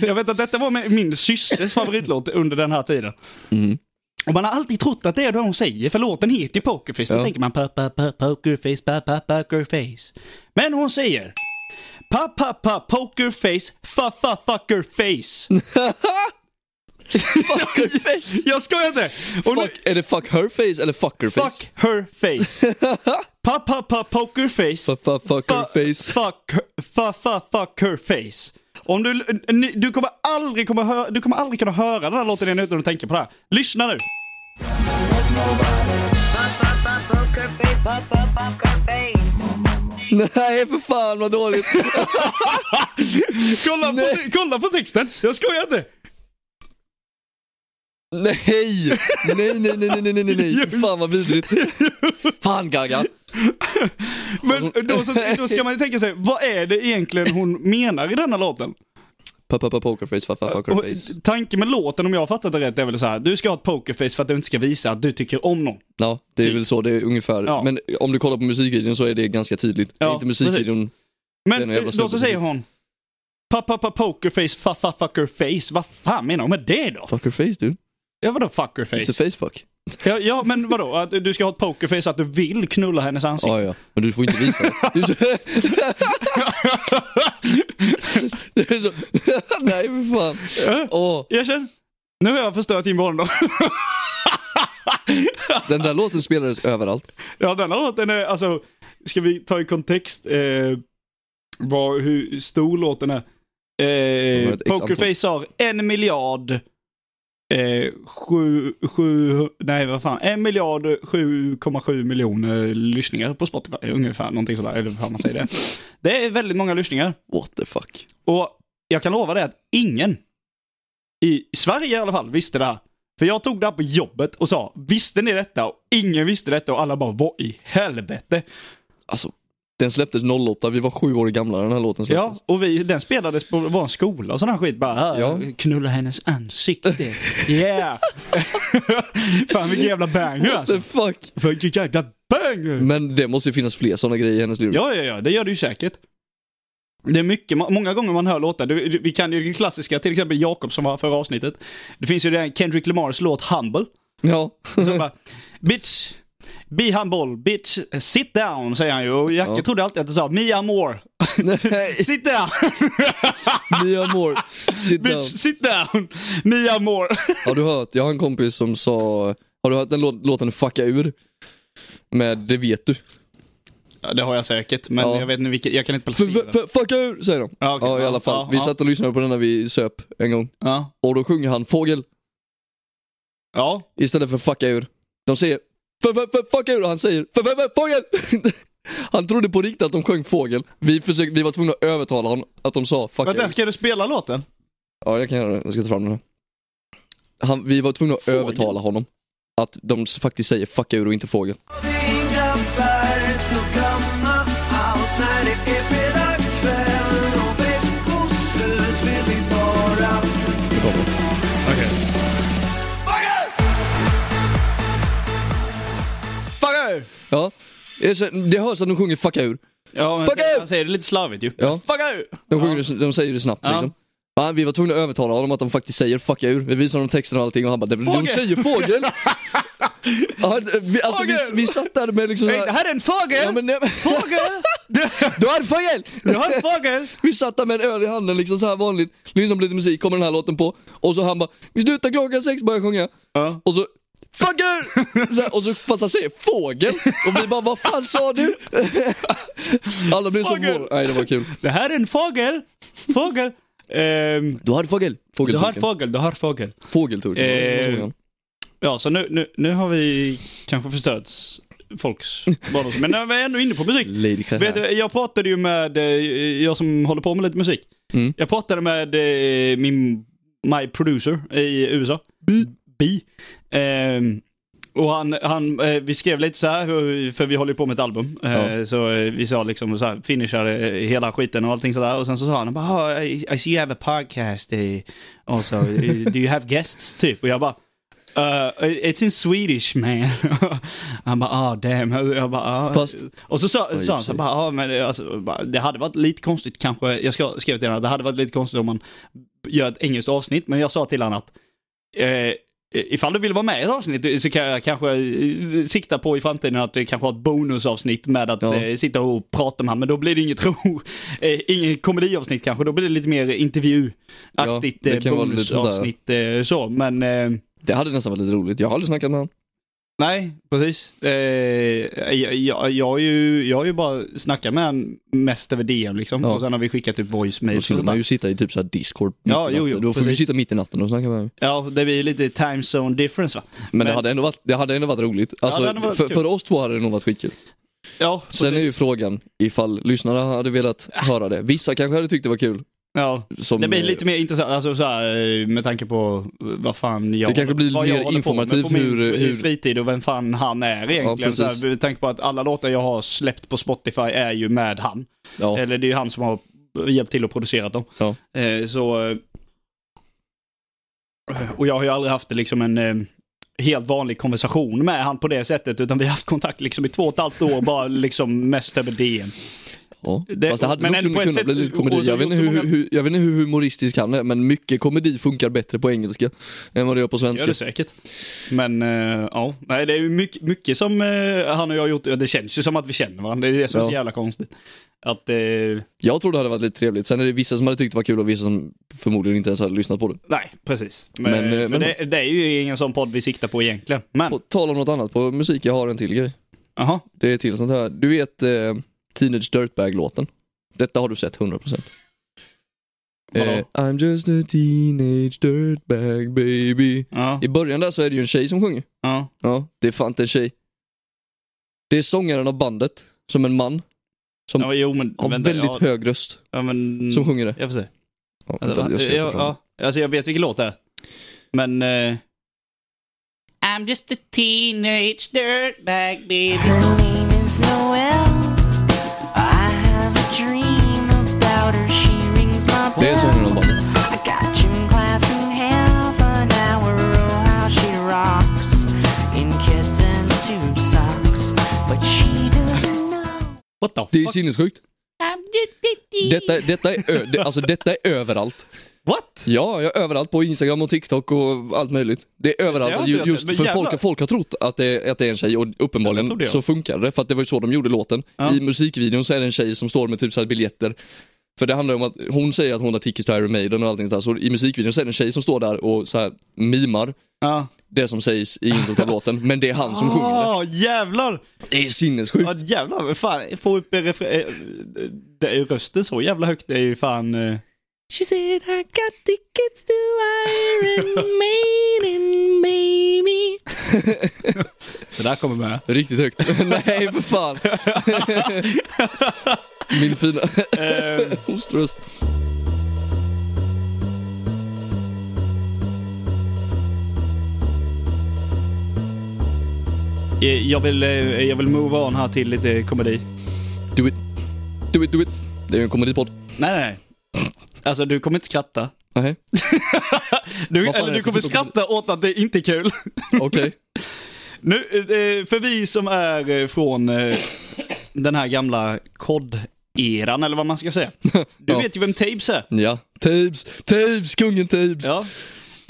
S2: [LAUGHS] jag vet att detta var min- min systers favoritlåt under den här tiden. Och man har alltid trott att det är det hon säger, för låten heter ju Pokerface. Då
S1: Ja.
S2: tänker man pa, pa, pa, pokerface, pa, pa, pokerface. Men hon säger pa, pa, pa, pokerface, fa, fa, fuckerface.
S1: Fuckerface!
S2: Jag skojar inte! Och nu,
S1: Fuck, är det fuck her face eller fucker face?
S2: fuck her face.
S1: [LAUGHS]
S2: Pa, pa, pa, pokerface.
S1: Fuck, fuck, fuck her
S2: Fa-
S1: face.
S2: Fuck, fa, fa, fuck her face. Om du, ni- du, kommer aldrig komma hö, du kommer aldrig kunna höra den här låten igen utan att tänka på det här. Lyssna nu.
S5: Bop, bop, bop, poker face, bop, bop, bop, her face.
S1: Nej för fan vad dåligt.
S2: Kolla, på,
S1: Nej.
S2: kolla på texten. Jag skojar inte.
S1: Nej! Nej, nej, nej, nej, nej, nej, nej. För Fan vad vidrigt. Fan Gaga.
S2: Men
S1: [LAUGHS]
S2: då, så, då ska man ju tänka sig, vad är det egentligen hon menar i denna låten?
S1: Pa, pa, pa, pokerface, fa, fa, fucker
S2: Och,
S1: face.
S2: tanken med låten, om jag har fattat det rätt, är väl så här. Du ska ha ett pokerface för att du inte ska visa att du tycker om någon.
S1: Ja, det är väl så det är ungefär.
S2: Ja.
S1: Men om du kollar på musikvideon så är det ganska tydligt. det
S2: Ja,
S1: är inte musikvideon. Det är
S2: Men eh,
S1: nog jävla
S2: då så
S1: snubbe.
S2: säger hon. Pa, pa, pa, pokerface, fa, fa, fuckerface. Vad fan menar hon med det då?
S1: Fucker face dude.
S2: Ja, vadå fuckerface?
S1: It's a face fuck.
S2: Ja, ja men vadå? Att du ska ha ett pokerface så att du vill knulla hennes ansikte?
S1: Ja, ja. Men du får inte visa det. Det är så... det är så... [LAUGHS] nej för fan. Åh,
S2: Jag känner, Eh? nu har jag förstört din barndom.
S1: den där låten spelades överallt.
S2: ja, den här låten är, alltså, ska vi ta i kontext eh, vad, hur stor låten är?
S1: var
S2: Eh,
S1: ett x
S2: pokerface har en miljard eh, sju, sju, nej vad fan, en miljard 7,7 miljoner lyssningar på Spotify ungefär, någonting sådär, eller hur fan man säger det. Det är väldigt många lyssningar.
S1: What the fuck.
S2: Och jag kan lova dig att ingen i Sverige i alla fall visste det här. För jag tog det här på jobbet och sa, visste ni detta? Och ingen visste detta och alla bara, vad i helvete?
S1: Alltså, Den släpptes 08, vi var sju år gamla när den här låten
S2: Ja,
S1: släpptes.
S2: och vi, den spelades på vår skola och sån här skit. Bara, här,
S1: Ja.
S2: knulla hennes ansikte. Yeah! [LAUGHS] Fan vilken jävla banger
S1: [LAUGHS]
S2: alltså.
S1: The fuck.
S2: Fan vilken jävla banger!
S1: Men det måste ju finnas fler sådana grejer i hennes lyrik.
S2: Ja, ja, ja, det gör det ju säkert. Det är mycket, må- många gånger man hör låtar, Du- du- vi kan ju det klassiska, till exempel Jakob som var förra avsnittet. Det finns ju den Kendrick Lamars låt Humble.
S1: Ja. [LAUGHS]
S2: Så bara, bitch, be humble, bitch, sit down, säger han ju. Och Jacke
S1: Ja.
S2: trodde alltid att det sa, me amor,
S1: Nej,
S2: sit down, [LAUGHS]
S1: Mia Moore. Sit down.
S2: bitch, sit down, me amor.
S1: Har du hört? Jag har en kompis som sa, har du hört den lå- låten Fucka ur? Med Det vet du.
S2: [LAUGHS] Ja, det har jag säkert, men
S1: Ja.
S2: jag vet inte vilket, jag kan inte
S1: F-
S2: placera
S1: f-
S2: den.
S1: f- fucka ur, säger de.
S2: Ja, okej.
S1: ja, i
S2: Ja,
S1: alla fall.
S2: ja,
S1: vi
S2: ja.
S1: satt och lyssnade på den när vi söp en gång.
S2: Ja.
S1: Och då sjunger han fågel
S2: ja,
S1: istället för fucka ur. De säger f- f- f- fucka ur och han säger f- f- f- fågel. [LAUGHS] Han trodde på riktigt att de sjöng fågel. Vi, försökte, vi var tvungna att övertala honom att de sa fucka
S2: vänta,
S1: ur.
S2: ska du spela låten?
S1: Ja, jag kan göra det. Jag ska ta fram den här. Han, vi var tvungna att
S2: Fågel.
S1: övertala honom att de s- faktiskt säger fucka ur och inte fågel.
S6: Inga berg, så glömma allt när det är fredagkväll och veckoslut vill vi bara
S1: Det kommer.
S2: Fuck you!
S1: Ja. Det är så- Det hörs att de sjunger fucka ur.
S2: Ja, men
S1: Fuck
S2: han-
S1: you!
S2: han säger det lite slarvigt ju.
S1: Ja.
S2: Fuck you!
S1: De, sjunger, det- de säger det snabbt
S2: Ja.
S1: liksom. Ja, vi var tvungna att övertala honom att de faktiskt säger 'fucka ur' Vi visade honom texten och allting och han bara 'De, de
S2: Fågel!"
S1: säger
S2: [LAUGHS]
S1: fågel!' ja, vi, alltså, vi,
S2: Fågel!
S1: vi satt där med liksom
S2: Hey, det här är en fågel!
S1: ja, men, [LAUGHS] nej, men,
S2: Fågel!
S1: Du har en fågel!
S2: Du har en fågel!
S1: Vi satt där med en öl i handen liksom så här vanligt, lyssnade på lite musik, kommer den här låten på och så han bara 'Vi slutar klockan sex' börjar sjunga
S2: Ja.
S1: och så 'Fuck ur!' Så här, Och så fast han säger fågel och vi bara 'Vad fan sa du?' [LAUGHS] Alla blev så
S2: Fågel!
S1: förvånade, nej det var kul
S2: Det här är en fågel! Fågel! Ehm,
S1: Du har en fågel!
S2: du har
S1: Fågelturken,
S2: fågel, du har fågel.
S1: fågelturken, var det som var
S2: Eh,
S1: sången.
S2: Ja, så nu, nu, nu har vi kanske förstört folks barndom. Men när vi är ändå inne på musik.
S1: Lady Gaga.
S2: Vet du, jag pratade ju med, eh, jag som håller på med lite musik.
S1: Mm.
S2: Jag pratade med eh, min, my producer i USA. Bi. Ehm, och han, han, eh, vi skrev lite så här, hur- för vi håller ju på med ett album. Eh,
S1: Ja.
S2: Så eh, vi sa liksom så här, finishade eh, hela skiten och allting sådär. Och sen så sa han bara, "Ah, I, I see you have a podcast eh, also. Eh, Do you have guests? Typ. Och jag bara, Uh, it's in Swedish man. [LAUGHS] han bara, ah damn. Jag bara, ah.
S1: Fast-
S2: Och så sa,
S1: i och
S2: sa
S1: för
S2: han så
S1: sig.
S2: här, bara, ja men alltså, bara, det hade varit lite konstigt kanske, jag ska, skrev till honom, det hade varit lite konstigt om man gör ett engelskt avsnitt, men jag sa till honom att eh, ifall du vill vara med i ett avsnitt så kan jag kanske eh, sikta på i framtiden att det kanske har ett bonusavsnitt med att
S1: Ja.
S2: eh, sitta och prata med honom, men då blir det inget ro, [LAUGHS] eh, inget komediavsnitt kanske, då blir det lite mer intervjuaktigt
S1: Ja, det
S2: eh,
S1: kan vara lite sådär.
S2: bonusavsnitt eh, så, men eh,
S1: Det hade nästan varit lite roligt. Jag har aldrig snackat med honom.
S2: Nej, precis. Eh, jag, jag, jag, har ju, jag har ju bara snackat med han mest över DM liksom.
S1: Ja.
S2: Och sen har vi skickat typ voice
S1: Då
S2: mail.
S1: skulle man ju sitta i typ så här discord mitt
S2: Ja,
S1: i
S2: jo, jo,
S1: natten. Då får vi
S2: precis.
S1: sitta mitt i natten och snacka med honom.
S2: Ja, det blir lite time zone difference va?
S1: Men, det,
S2: Men-
S1: hade ändå varit, det hade ändå varit roligt. Alltså,
S2: det hade varit
S1: för,
S2: kul.
S1: för oss två hade det nog varit skitkul.
S2: Ja,
S1: Sen är
S2: precis.
S1: ju frågan ifall lyssnarna hade velat höra det. Vissa kanske hade tyckt det var kul.
S2: ja.
S1: Som,
S2: Det blir
S1: eh,
S2: lite mer intressant, alltså så här, eh, med tanke på eh, vad fan jag
S1: Det kanske blir
S2: vad jag
S1: mer
S2: håller på med
S1: informativt
S2: på min
S1: hur-
S2: f-
S1: hur-
S2: fritid och vem fan han är egentligen.
S1: Ja,
S2: så
S1: precis.
S2: här, med tanke på att alla låtar jag har släppt på Spotify är ju med han.
S1: ja,
S2: Eller det är ju han som har hjälpt till och producerat dem.
S1: ja.
S2: Eh, så... eh, Och jag har ju aldrig haft liksom en eh, helt vanlig konversation med han på det sättet, utan vi har haft kontakt liksom i två och ett halvt år, bara liksom mest över DM.
S1: ja.
S2: det-
S1: Fast det hade
S2: men
S1: nog
S2: ändå på
S1: kunnat kunna
S2: ett sätt-
S1: bli lite
S2: och
S1: komedi.
S2: så
S1: Jag vet, inte
S2: gjort
S1: hur,
S2: så många-
S1: hur, jag vet inte hur humoristisk han är, men mycket komedi funkar bättre på engelska än vad det gör på
S2: Gör
S1: svenska.
S2: det säkert. Men eh, ja, nej det är ju mycket, mycket som eh, han och jag har gjort, det känns ju som att vi känner varandra, det är det som är så
S1: Ja.
S2: jävla konstigt. Att, eh,
S1: Jag tror det hade varit lite trevligt. Sen är det vissa som hade tyckt det var kul och vissa som förmodligen inte ens hade lyssnat på det.
S2: nej precis. Men,
S1: Men, eh,
S2: för
S1: men-
S2: det, det är ju ingen sån podd vi siktar på egentligen. Men,
S1: På tal om något annat, på musik, jag har en till grej.
S2: jaha.
S1: Det är till sånt här. Du vet eh, Teenage Dirtbag-låten? Detta har du sett 100%.
S2: Vadå?
S1: Eh, I'm just a teenage dirtbag baby.
S2: Ja,
S1: I början där så är det ju en tjej som sjunger.
S2: ja.
S1: Ja, det är fan inte en tjej. Det är sångaren av bandet, som en man, som
S2: ja, jo men
S1: har
S2: vänta,
S1: väldigt
S2: ja,
S1: hög röst,
S2: ja, men,
S1: som sjunger det.
S2: Jag får se.
S1: Ja,
S2: Alltså,
S1: vänta, jag ska ta fram
S2: ja, ja, alltså jag vet vilken låt det är. Men... eh, I'm just a teenage dirtbag baby.
S7: Her name is Noel. I
S2: What the
S1: Det är
S2: fuck?
S1: sinnessjukt. Detta, detta, är ö, det, alltså, detta är överallt.
S2: What?
S1: Ja, jag är överallt på Instagram och TikTok och allt möjligt. Det är överallt,
S2: Det har inte
S1: ju,
S2: jag
S1: just
S2: sett, men
S1: för
S2: jävlar.
S1: folk, folk har trott att det, att det är en tjej och
S2: Ja, det trodde
S1: uppenbarligen
S2: jag.
S1: så funkar det. För att det var ju så de gjorde låten.
S2: Ja.
S1: I musikvideon så är det en tjej som står med typ så här biljetter. För det handlar om att hon säger att hon har tickets till Iron Maiden och allting sånt där. Så i musikvideon så är det en tjej som står där och så här mimar
S2: Ja.
S1: det som sägs i introt
S2: [LAUGHS]
S1: av låten. Men det är han som sjunger det.
S2: Åh, jävlar!
S1: Det är sinnessjukt.
S2: Ah. Ja, jävlar. men Fan, få upp eh, refre- eh, det är ju rösten så jävla högt. Det är ju fan... eh,
S7: She said, I got tickets to Iron Maiden, baby.
S2: [LAUGHS] Det där kommer med.
S1: Riktigt
S2: [LAUGHS]
S1: högt. Nej, för fan. Min fina
S2: Eh,
S1: [LAUGHS] oströst.
S2: eh, jag, vill, eh, jag vill move on här till lite komedi.
S1: Do it. Do it, do it. Det är ju en komedipodd.
S2: Nej, nej, nej. Alltså du kommer inte skratta.
S1: Nej,
S2: Du,
S1: Vad fan
S2: eller
S1: är det för
S2: du kommer
S1: typ av komedi?
S2: skratta åt att det inte är kul.
S1: [LAUGHS] okej.
S2: Nu, eh, för vi som är eh, från eh, den här gamla kod-eran, eller vad man ska säga. Du
S1: Ja.
S2: vet ju vem Tabes är.
S1: Ja. Tabes, Tabes, kungen Tabes.
S2: Ja.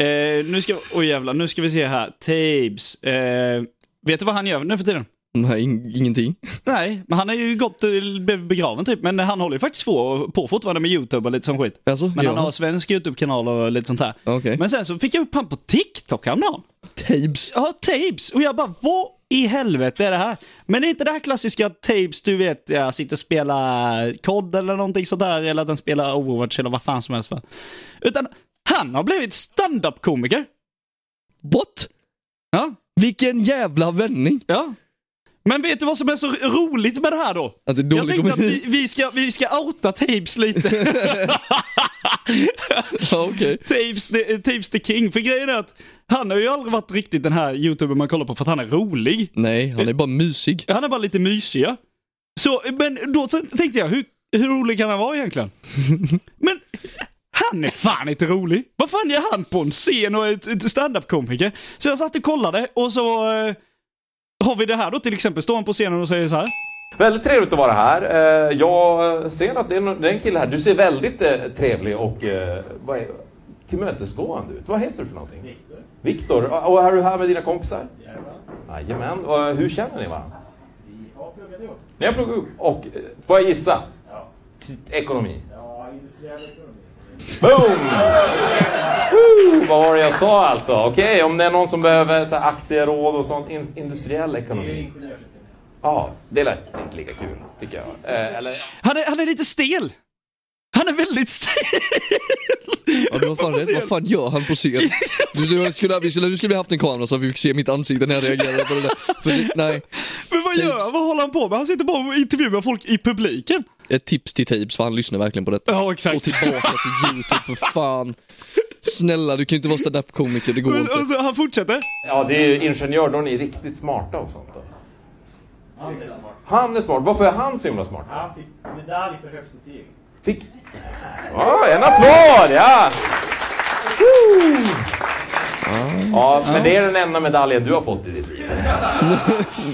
S2: Eh, nu ska, oj jävlar, nu ska vi se här. Tabes. Eh, vet du vad han gör nu för tiden?
S1: Nej, in- ingenting.
S2: Nej, men han är ju gått eh, be- begraven typ, men han håller ju faktiskt på, på fortfarande med YouTube och lite sån skit.
S1: Alltså,
S2: Men
S1: gör
S2: han har svensk YouTube-kanal och lite sånt här.
S1: Okej.
S2: Men sen så fick jag upp han på TikTok häromdagen.
S1: Tabes.
S2: Ja, tapes. Och jag bara, vad i helvete är det här? Men det är inte det här klassiska tapes, du vet, jag sitter och spelar kod eller någonting sådär, eller att den spelar Overwatch eller vad fan som helst. Va? Utan han har blivit stand-up-komiker.
S1: What?
S2: Ja.
S1: Vilken jävla vändning.
S2: ja. Men vet du vad som är så roligt med det här då?
S1: Att det är
S2: Jag
S1: dålig
S2: tänkte att
S1: komedi.
S2: vi, vi, ska, vi ska outa
S1: [LAUGHS]
S2: tapes lite.
S1: Ja, okej.
S2: tapes, the, eh, tapes the king. För grejen är att han har ju aldrig varit riktigt den här youtuber man kollar på för att han är rolig.
S1: Nej, han är bara mysig.
S2: Han är bara lite mysig. ja. Så, men då t- tänkte jag, hur, hur rolig kan han vara egentligen? men han är fan inte rolig. Vad fan gör han på en scen och är ett, ett standup-komiker? Så jag satt och kollade och så eh, har vi det här då till exempel. Står han på scenen och säger så här.
S8: Väldigt trevligt att vara här. Eh, Jag ser att det är en- det är en kille här. Du ser väldigt eh, trevlig och eh, vad är- tillmötesgående ut. Vad heter du för någonting? Viktor. Viktor. Ah, Och och är du här med dina kompisar? Jajamän. Jajamän. Hur känner ni varandra? Vi har pluggat ihop. Ni har pluggat ihop? Och eh, får jag gissa? Ja. Ekonomi? Ja, industriell ekonomi. Boom! Woo! Vad var det jag sa alltså? Okej, om det är någon som behöver så här, aktieråd och sånt. In, industriell ekonomi. Ja, det lät inte lika kul, tycker jag. Eh, eller...
S2: Han är, han är lite stel. Han är väldigt [LAUGHS] stel.
S1: Ja, du har fan rätt. Vad fan gör han på scen? [LAUGHS] Du, du, skulle, vi skulle, du skulle ha haft en kamera så att vi fick se mitt ansikte när jag reagerade på det där. För, det- nej,
S2: Men vad gör
S1: Typ.
S2: han? Vad håller han på med? Han sitter bara och intervjuar folk i publiken. typ
S1: ett tips till Tabes, för han lyssnar verkligen på detta.
S2: Ja,
S1: Och tillbaka till YouTube, för fan. Snälla, du kan ju inte vara standup-komiker, det går
S2: Och, och
S1: inte.
S2: så, alltså, han fortsätter.
S8: Ja, det är ju ingenjör, då är ni riktigt smarta och sånt då. Han är smart. Varför är han så himla smart?
S9: Han fick medalj för högst betyg.
S8: Fick... Ja, en applåd! Ja! Woo! Ja, men det är den enda medaljen du har fått i ditt liv.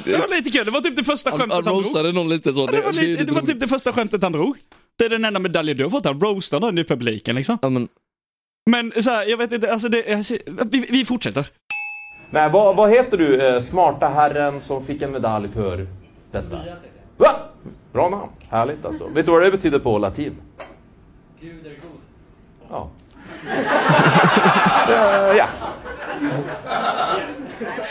S2: Det var lite kul. Det var typ det första
S1: Han,
S2: skämtet
S1: han
S2: han drog.
S1: roastade någon lite så.
S2: Ja, Det var,
S1: är
S2: lite, det var
S1: roligt.
S2: typ det första skämtet han drog. Det är den enda medaljen du har fått, han roastar någon i publiken liksom.
S1: Ja, men,
S2: Men så här, jag vet inte, alltså det, alltså, vi, vi fortsätter.
S8: Nej, vad, vad heter du, eh, smarta herren som fick en medalj för detta? Va? Bra namn. Härligt alltså. Vet du vad det betyder på latin?
S9: Gud är god.
S8: Ja. Eh, ja.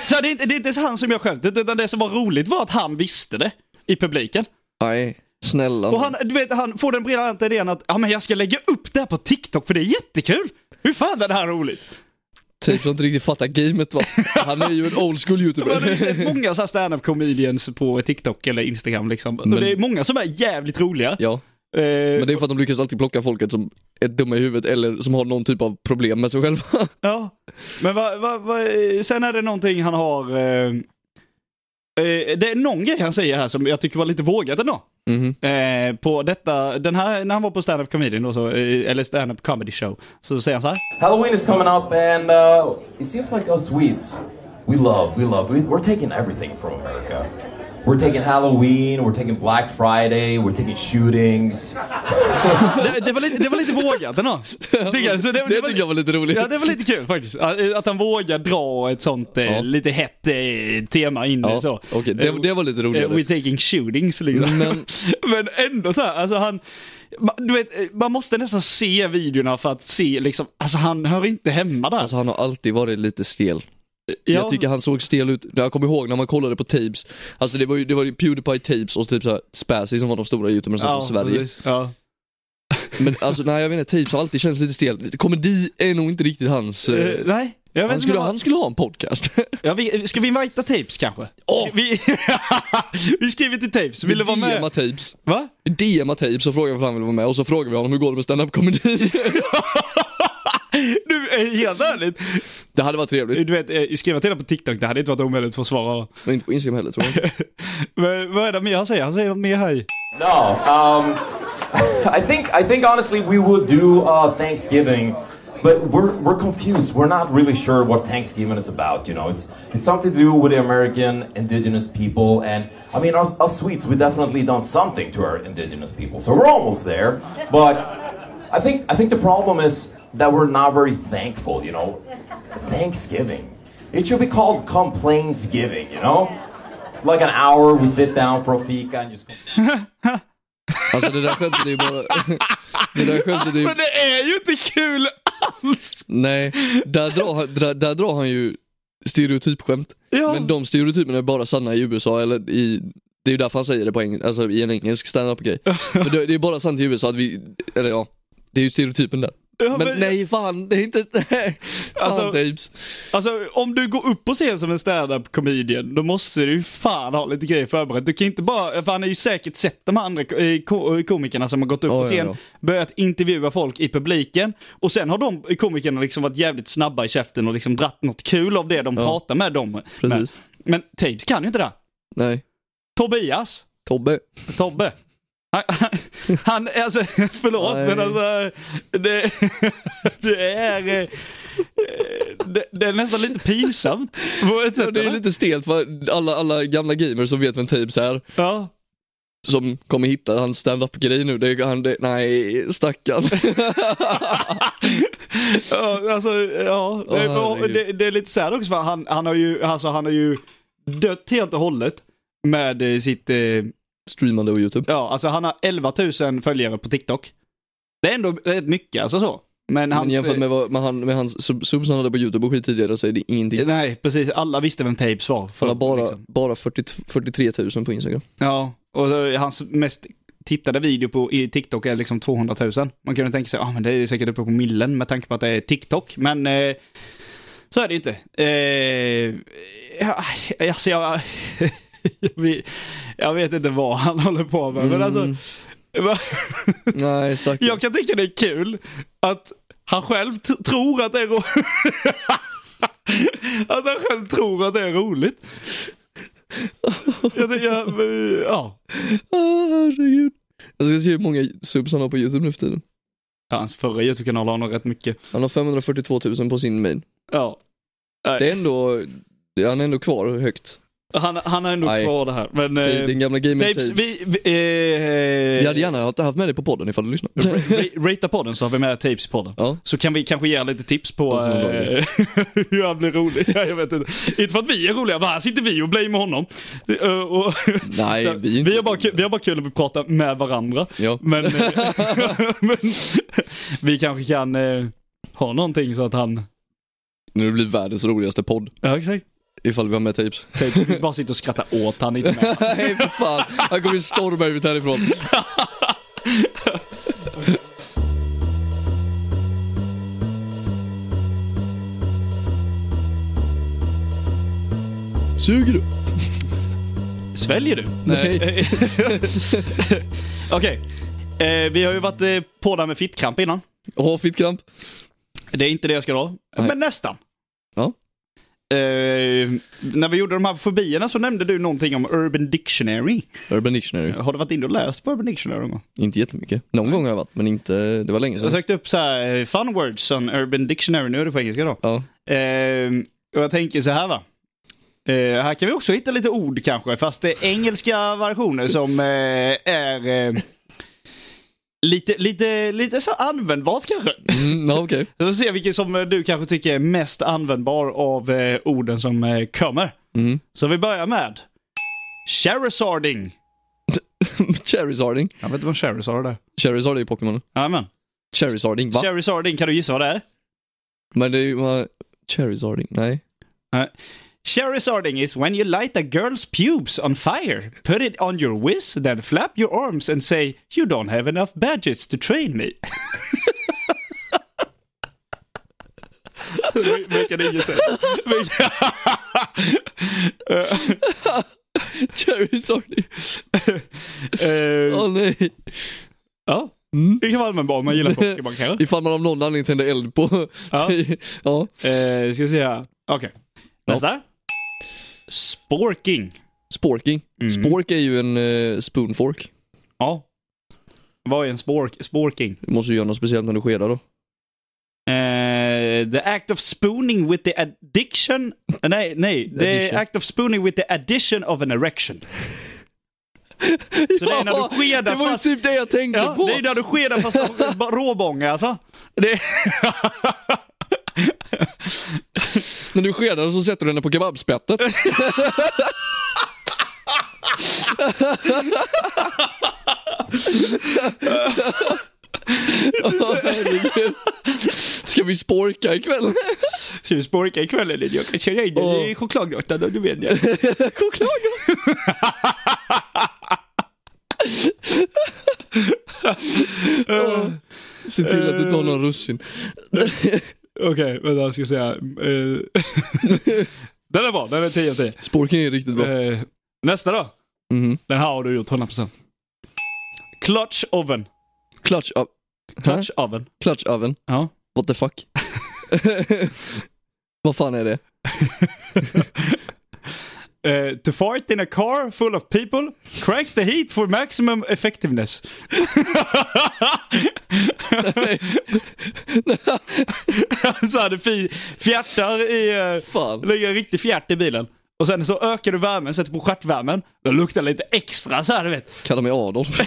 S2: Så här, det, är inte, det är inte han som gör skämtet, utan det som var roligt var att han visste det i publiken.
S1: nej, snälla.
S2: Och han, du vet, han får den briljanta idén att ja, men jag ska lägga upp det här på TikTok för det är jättekul. Hur fan är det här roligt?
S1: Typ som inte riktigt fattar gamet va. Han är ju en old school
S2: Man har ju
S1: [LAUGHS]
S2: sett
S1: youtuber.
S2: många så här stand-up comedians på TikTok eller Instagram liksom. Och
S1: Men-
S2: det är många som är jävligt roliga.
S1: ja,
S2: Eh,
S1: men det är för att de lyckas alltid plocka folket som är dumma i huvudet eller som har någon typ av problem med sig själva.
S2: Ja, men vad, vad, vad, sen är det någonting han har... Eh, eh, det är någon grej han säger här som jag tycker var lite vågad ändå.
S1: Mhm.
S2: Eh, på detta, den här, när han var på stand-up comedy då, så, eh, eller stand-up comedy show, så säger han så här.
S8: Halloween is coming up, and uh, it seems like us Swedes, we love, we love, we, we're taking everything from America. We're taking Halloween, we're taking Black Friday, we're taking shootings.
S2: Det, det, var lite, det var lite vågat ändå. [LAUGHS] Tycker
S1: [LAUGHS]
S2: jag. Så det,
S1: Det tycker jag var lite roligt.
S2: Ja, det var lite kul faktiskt. Ja, eh, Att han vågar dra ett sånt eh,
S1: Ja.
S2: lite hett eh, tema in i så.
S1: Ja, okej, det,
S2: Eh,
S1: det var lite
S2: Eh,
S1: roligare.
S2: We're taking shootings liksom. Men, [LAUGHS] men ändå så här, alltså han... ma- Du vet, eh, man måste nästan se videorna för att se liksom, alltså han hör inte hemma där.
S1: Alltså han har alltid varit lite stel.
S2: Ja.
S1: Jag tycker han såg stel ut, jag kommer ihåg när man kollade på tapes, alltså det var ju, det var ju Pewdiepie tapes och så typ såhär Spazzy som var de stora youtuberna som
S2: Ja,
S1: var från Sverige.
S2: precis. Ja.
S1: Men alltså nej jag vet inte, tapes har alltid känts lite stel. Komedi är nog inte riktigt hans... eh,
S2: Eh, nej, jag vet
S1: han,
S2: inte
S1: skulle,
S2: vad-
S1: han skulle ha en podcast.
S2: Ja, vi, eh, ska vi invita tapes kanske?
S1: Åh!
S2: Vi, [LAUGHS] vi skriver till tapes, [LAUGHS] vill du vara
S1: DMa
S2: med?
S1: tapes.
S2: Va?
S1: DMa tapes och frågar om han vill vara med och så frågar vi honom hur går det med stand-up komedi
S2: Du, eh, helt ärligt.
S1: [LAUGHS] Det hade varit trevligt.
S2: Du vet, eh, skriva till honom på TikTok, det hade inte varit omöjligt för att svara.
S1: Men inte på Instagram heller tror jag.
S2: Men, vad är det mer han säger? Han säger något mer här.
S8: No, um, [LAUGHS] I think I think honestly we will do uh, Thanksgiving, but we're we're confused. We're not really sure what Thanksgiving is about. You know, it's it's something to do with the American indigenous people, and I mean us, us Swedes, we definitely done something to our indigenous people, so we're almost there. But I think I think the problem is that we're not very thankful. You know, Thanksgiving. It should be called Complainsgiving. You know. Like an hour, we sit down for a fika and just.
S1: Alltså det där skämtet är ju bara... [LAUGHS] Det där skämtet är ju...
S2: Men Alltså, det är ju inte kul alls!
S1: Nej, där drar han, där, där drar han ju stereotypskämt.
S2: Ja.
S1: Men de stereotyperna är bara sanna i USA eller i... Det är ju därför han säger det på eng- alltså i en engelsk
S2: [LAUGHS]
S1: standup-grej. För det, det är bara sant i USA att vi, eller ja, det är ju stereotypen där.
S2: Ja,
S1: men,
S2: men-
S1: nej fan, det är inte, [LAUGHS] nej. Fan
S2: Alltså-
S1: tapes.
S2: Alltså om du går upp och ser som en stand-up comedian, då måste du ju fan ha lite grejer förberett. Du kan inte bara, för han har ju säkert sett de andra eh, ko- komikerna som har gått upp
S1: Ja, ja,
S2: på scen,
S1: ja.
S2: börjat intervjua folk i publiken och sen har de komikerna liksom varit jävligt snabba i käften och liksom dratt något kul av det de pratar med dem. Men,
S1: Precis.
S2: men Tapes kan ju inte det.
S1: Nej.
S2: Tobias,
S1: Tobbe.
S2: Tobbe. Han, han alltså, [LAUGHS] förlåt
S1: Nej.
S2: men alltså, det, [LAUGHS] det är... eh, eh, Det, det är nästan lite pinsamt. På ett
S1: Ja,
S2: sätt,
S1: det är
S2: eller?
S1: lite stelt för alla, alla gamla gamers som vet vem Tapes är,
S2: Ja.
S1: som kommer hitta hans stand-up-grej nu, det är han, det, nej stackarn. [LAUGHS]
S2: ja, alltså, ja. Det,
S1: Åh,
S2: och
S1: herregud.
S2: det, det är lite så här också för han, han har ju, alltså han har ju dött helt och hållet med eh, sitt, eh,
S1: Streamande och YouTube.
S2: ja alltså han har 11 000 följare på TikTok. Det är ändå rätt mycket alltså så. Men,
S1: Men
S2: hans,
S1: jämfört med, vad, med, han, med hans sub- subs han hade på YouTube och skit tidigare så är det ingenting.
S2: eh, Nej, precis. Alla visste vem Tapes var.
S1: Han har
S2: förut,
S1: bara,
S2: liksom.
S1: bara 40, 43 000 på Instagram.
S2: Ja, och så hans mest tittade video på i TikTok är liksom 200 000. Man kunde tänka sig, ja ah, men det är säkert uppe på millen med tanke på att det är TikTok, men eh, så är det ju inte. Eh, ja, alltså jag, [LAUGHS] jag, vet, jag vet inte vad han håller på med, men alltså, va-
S1: Nej stackarn.
S2: jag kan tycka det är kul att han själv t- tror att det är roligt. [LAUGHS] Att han själv tror att det är roligt. Jag, tycker- jag, ja.
S1: Ah, herregud. Jag ska se hur många subs han har på YouTube nu för tiden.
S2: Ja, hans förra YouTube-kanal har nog rätt mycket.
S1: Han har 542 000 på sin main.
S2: Ja.
S1: Det är ändå, det- han är ändå kvar högt.
S2: Han, han är nog
S1: Nej.
S2: kvar det här. Men...
S1: Till
S2: Eh,
S1: den gamla gamer
S2: tapes,
S1: tapes.
S2: vi... vi eh,
S1: Jag hade gärna haft- haft med dig på podden ifall du [LAUGHS] lyssnar.
S2: ra- ra- Ratea podden så har vi med tapes i podden.
S1: Ja.
S2: Så kan vi kanske ge lite tips på
S1: Vad som är
S2: eh, [LAUGHS] hur han blir rolig. Ja, jag vet inte. Inte för att vi är roliga, bara här sitter vi och blamear honom. Det, eh, och,
S1: Nej,
S2: så,
S1: vi är inte-
S2: vi, har bara, kul- vi har bara kul att vi pratar med varandra.
S1: Ja.
S2: Men, eh, [LAUGHS] men vi kanske kan eh, ha någonting så att han...
S1: Nu blir det världens roligaste podd
S2: Ja, exakt.
S1: ifall vi har med tapes. [LAUGHS]
S2: Tapes, vi bara sitter och skrattar åt han, inte med.
S1: Nej för fan, han kommer ju storma ut härifrån. Suger du?
S2: Sväljer du?
S1: Nej.
S2: [LAUGHS] Okej. Eh, vi har ju varit eh, på där med fittkramp innan.
S1: Åh, fittkramp.
S2: Det är inte det jag ska dra,
S1: Nej.
S2: men nästan.
S1: Ja.
S2: Eh, när vi gjorde de här fobierna så nämnde du någonting om Urban Dictionary.
S1: Urban Dictionary.
S2: Har du varit inne och läst på Urban Dictionary någon gång?
S1: Inte jättemycket. Någon gång har jag varit, men inte... Det var länge
S2: Jag
S1: sedan.
S2: sökte upp så här, eh, fun words on Urban Dictionary, nu är det på engelska då.
S1: Ja.
S2: Eh, och jag tänker så här va. Eh, här kan vi också hitta lite ord kanske, fast det är engelska versioner som eh, är eh, lite, lite, lite så användbart kanske.
S1: Mm, ja, okej. [LAUGHS]
S2: Vi får se vilken som eh, du kanske tycker är mest användbar av eh, orden som eh, kommer.
S1: Mm.
S2: Så vi börjar med Charizarding.
S1: Charizarding.
S2: Jag vet inte vad Charizard är.
S1: Charizard är ju Pokémon.
S2: Jajamän.
S1: Charizarding, va?
S2: Charizarding, kan du gissa vad det är?
S1: Men det är ju bara... Charizarding, nej. [LAUGHS]
S2: Charizarding is when you light a girl's pubes on fire, put it on your whiz, then flap your arms and say you don't have enough badges to train [LAUGHS] me. Vilken ingen säga. Vilken-
S1: Charizarding,
S2: Eh,
S1: åh nej.
S2: [LAUGHS] Ja, det kan vara användbart om man [LAUGHS] gillar Pokémon kanske.
S1: [LAUGHS] Ifall man av någon anledning tänder eld på... [LAUGHS]
S2: Ja.
S1: ja.
S2: Eh, ska vi se här. Okej. Nästa. Sporking.
S1: Sporking.
S2: Mm.
S1: Spork är ju en eh, spoonfork.
S2: Ja. Vad är en spork? Sporking?
S1: Du måste ju göra något speciellt när du skedar då.
S2: Eh, the act of spooning with the addiction... eh, Nej, nej. The
S1: Addition.
S2: act of spooning with the addition of an erection. Så det är när du skedar
S1: Det var ju
S2: fast-
S1: typ det jag tänkte
S2: Ja,
S1: på!
S2: det är när du skedar fast av bara råbånge alltså. Det...
S1: När du skedar så sätter du henne på kebabspettet. Åh, herregud. Ska vi sporka ikväll?
S2: Ska vi sporka ikväll eller? Jag kan köra in
S1: dig i
S2: chokladgrottan om du vill. [LAUGHS]
S1: Chokladgrott! Se till att du tar några russin.
S2: Okej, vänta jag ska säga. eh, [LAUGHS] den är bra, den är 10 av 10.
S1: Sporken är riktigt bra.
S2: Eh, nästa då.
S1: Mhm.
S2: Den här har du gjort 100%. Clutch oven.
S1: Clutch, up.
S2: Clutch oven.
S1: Clutch oven.
S2: Ja.
S1: What the fuck? Vad fan är det?
S2: Eh, to fart in a car full of people. Crank the heat for maximum effectiveness. [LAUGHS] så här, du fi- fjärtar i... eh,
S1: Fan.
S2: Lägger en riktig fjärt i bilen. Och sen så ökar du värmen, sätter på stjärtvärmen. Då luktar det lite extra så här, du vet.
S1: Kalla mig Adolf.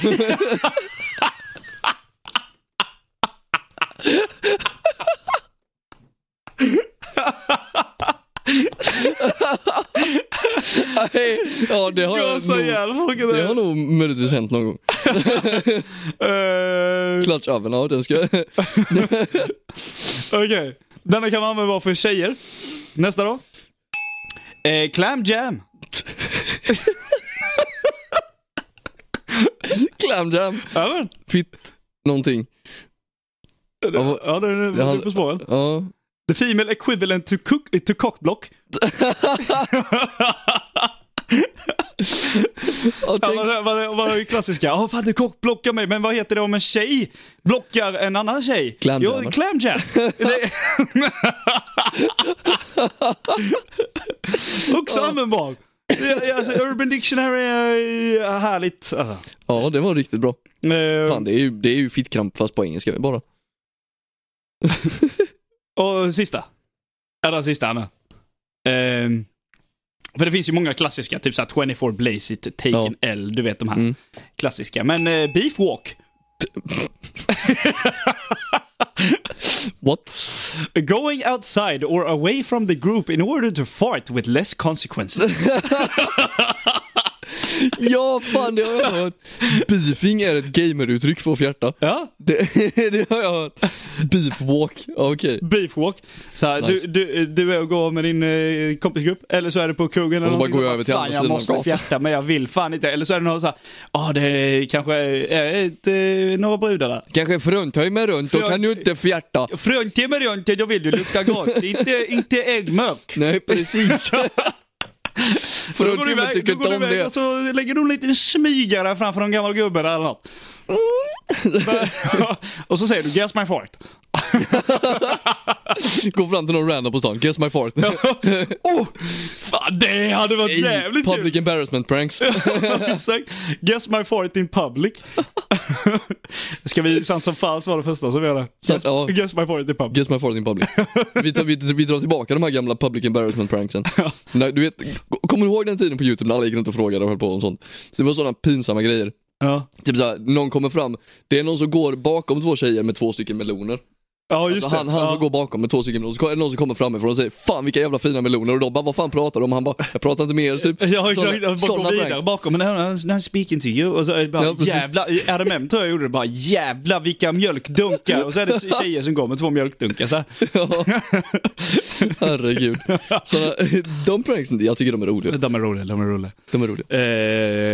S1: Nej, ja det har jag
S2: Gasar
S1: nog,
S2: ihjäl folk.
S1: det har nog möjligtvis hänt någon gång.
S2: Eh,
S1: Clutch oven, ja den ska...
S2: Okej, denna kan man använda bara för tjejer. Nästa då. Eh, clam jam.
S1: Clam jam!
S2: Ja, men.
S1: Fitt någonting. Ja, vad-
S2: Ja, nu nu- nu är du på spåren.
S1: Ja.
S2: The female equivalent to, cook, to cockblock.
S1: Ja,
S2: Ja,
S1: tänk-
S2: vad- vad- vad är det klassiska? Ja, fan du cockblockar mig, men vad heter det om en tjej blockar en annan tjej?
S1: Clam jam,
S2: Jo,
S1: va?
S2: clam jam.
S1: [LAUGHS]
S2: Det- Också användbar. Ja, ja, Alltså, Urban Dictionary är härligt. Alltså.
S1: ja det var riktigt bra.
S2: Eh,
S1: Fan det är ju, det är ju fittkramp fast på engelska bara. [LAUGHS]
S2: Och sista. Ja, den sista Anna. Ehm, för det finns ju många klassiska, typ såhär 24 Blaze It, Taken L, du vet de här
S1: Mm.
S2: klassiska. Men eh, Beef Walk,
S1: What?
S2: going outside or away from the group in order to fart with
S1: [LAUGHS]
S2: less consequences.
S1: Ja fan det har jag hört. Beefing är ett gameruttryck för att fjärta.
S2: ja,
S1: Det, [LAUGHS] det har jag hört. Beefwalk, ja, okej.
S2: Beef Walk. Såhär,
S1: Nice.
S2: du, du, du är och går med din eh, kompisgrupp, eller så är du på krogen eller
S1: Och så bara
S2: någonting,
S1: går jag
S2: bara,
S1: över till
S2: "Fan,
S1: andra
S2: jag
S1: sidan av
S2: måste
S1: gatan."
S2: fjärta men jag vill fan inte. Eller så är det någon såhär, ja det är kanske är ett, eh, några brudar där.
S1: Kanske fruntimmer runt, då
S2: Frunt-
S1: kan du inte fjärta.
S2: Fruntimmer gör inte, då vill du
S1: [LAUGHS]
S2: lukta gott. inte, inte äggmök.
S1: Nej [LAUGHS] precis.
S2: Så då går du
S1: Fruntimmer
S2: iväg-
S1: tycker
S2: då går
S1: inte
S2: du
S1: om
S2: iväg
S1: det.
S2: Och så lägger du en liten smygare framför någon gammal gubbe där eller något.
S1: Mm.
S2: [LAUGHS] och så säger du guess
S1: [LAUGHS]
S2: my fart.
S1: Gå fram till någon random på stan, guess my fart.
S2: oh, Fan, det hade varit jävligt kul! [LAUGHS]
S1: Public embarrassment pranks.
S2: Exakt. Guess my fart in public. [LAUGHS] Ska vi, sant som falskt var det första som vi gjorde.
S1: Sant, ja.
S2: Guess my fart in public.
S1: Guess my fart in [LAUGHS] public. Vi, tar, vi, vi drar tillbaka de här gamla public embarrassment pranksen. Nej, du vet, kommer du ihåg den tiden på YouTube när alla gick runt och frågade och höll på om sånt? Så det var sådana pinsamma grejer.
S2: Ja,
S1: Typ såhär, någon kommer fram, det är någon som går bakom två tjejer med två stycken meloner.
S2: ja just
S1: Alltså han,
S2: det.
S1: han
S2: ja.
S1: som går bakom med två stycken meloner, så är det någon som kommer framifrån och säger 'Fan vilka jävla fina meloner' och de bara 'Vad fan pratar du om?' Han bara 'Jag pratar inte med er' typ.
S2: Ja,
S1: Såna-
S2: exakt. Jag bara
S1: såna
S2: går vidare
S1: pranks.
S2: bakom. Men när han speaking to you. Och så är det bara
S1: Ja, precis.
S2: jävla, i RMM tror jag gjorde det bara jävla vilka mjölkdunkar. Och så
S1: [LAUGHS]
S2: är det tjejer som går med två mjölkdunkar. Så här.
S1: Ja. [LAUGHS] Herregud. Såna, [LAUGHS] de pranksen, jag tycker de är roliga.
S2: De är roliga, de är roliga.
S1: De är roliga.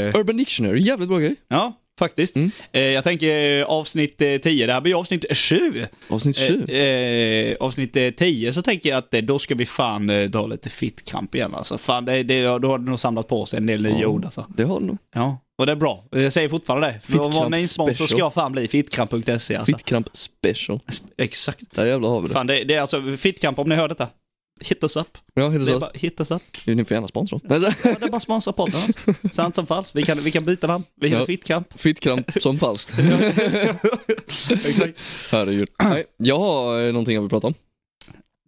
S2: Eh,
S1: Urban Dictionary, jävligt bra grej.
S2: ja, faktiskt.
S1: Mm.
S2: Eh, jag tänker eh, avsnitt eh, 10, det här blir avsnitt 7.
S1: Avsnitt 7.
S2: Eh, eh, avsnitt eh, 10 så tänker jag att eh, då ska vi fan eh, dra lite fittkamp igen alltså. Fan, det, det, då har det nog samlat på sig en del nya ord alltså.
S1: Det har de nog.
S2: Ja, och det är bra. Jag säger fortfarande det. För att vara
S1: Fittkramp
S2: min sponsor
S1: special.
S2: ska fan bli fittkramp.se alltså.
S1: Fittkramp special.
S2: Exakt.
S1: Där jävlar har vi det.
S2: Fan, det, det är alltså fittkamp om ni hör detta. Hit us up.
S1: Ja, hit us
S2: Det är
S1: up.
S2: bara, hit us up.
S1: Ni får gärna sponsra oss. Nej, så- [LAUGHS]
S2: Ja, det är bara sponsra podden alltså. [LAUGHS] Sant som falskt. Vi kan, vi kan byta namn. Vi
S1: Ja.
S2: har [LAUGHS] fittkamp.
S1: Fittkramp som
S2: [LAUGHS]
S1: falskt.
S2: Exakt.
S1: Herregud. Nej, jag har eh, någonting jag vill prata om.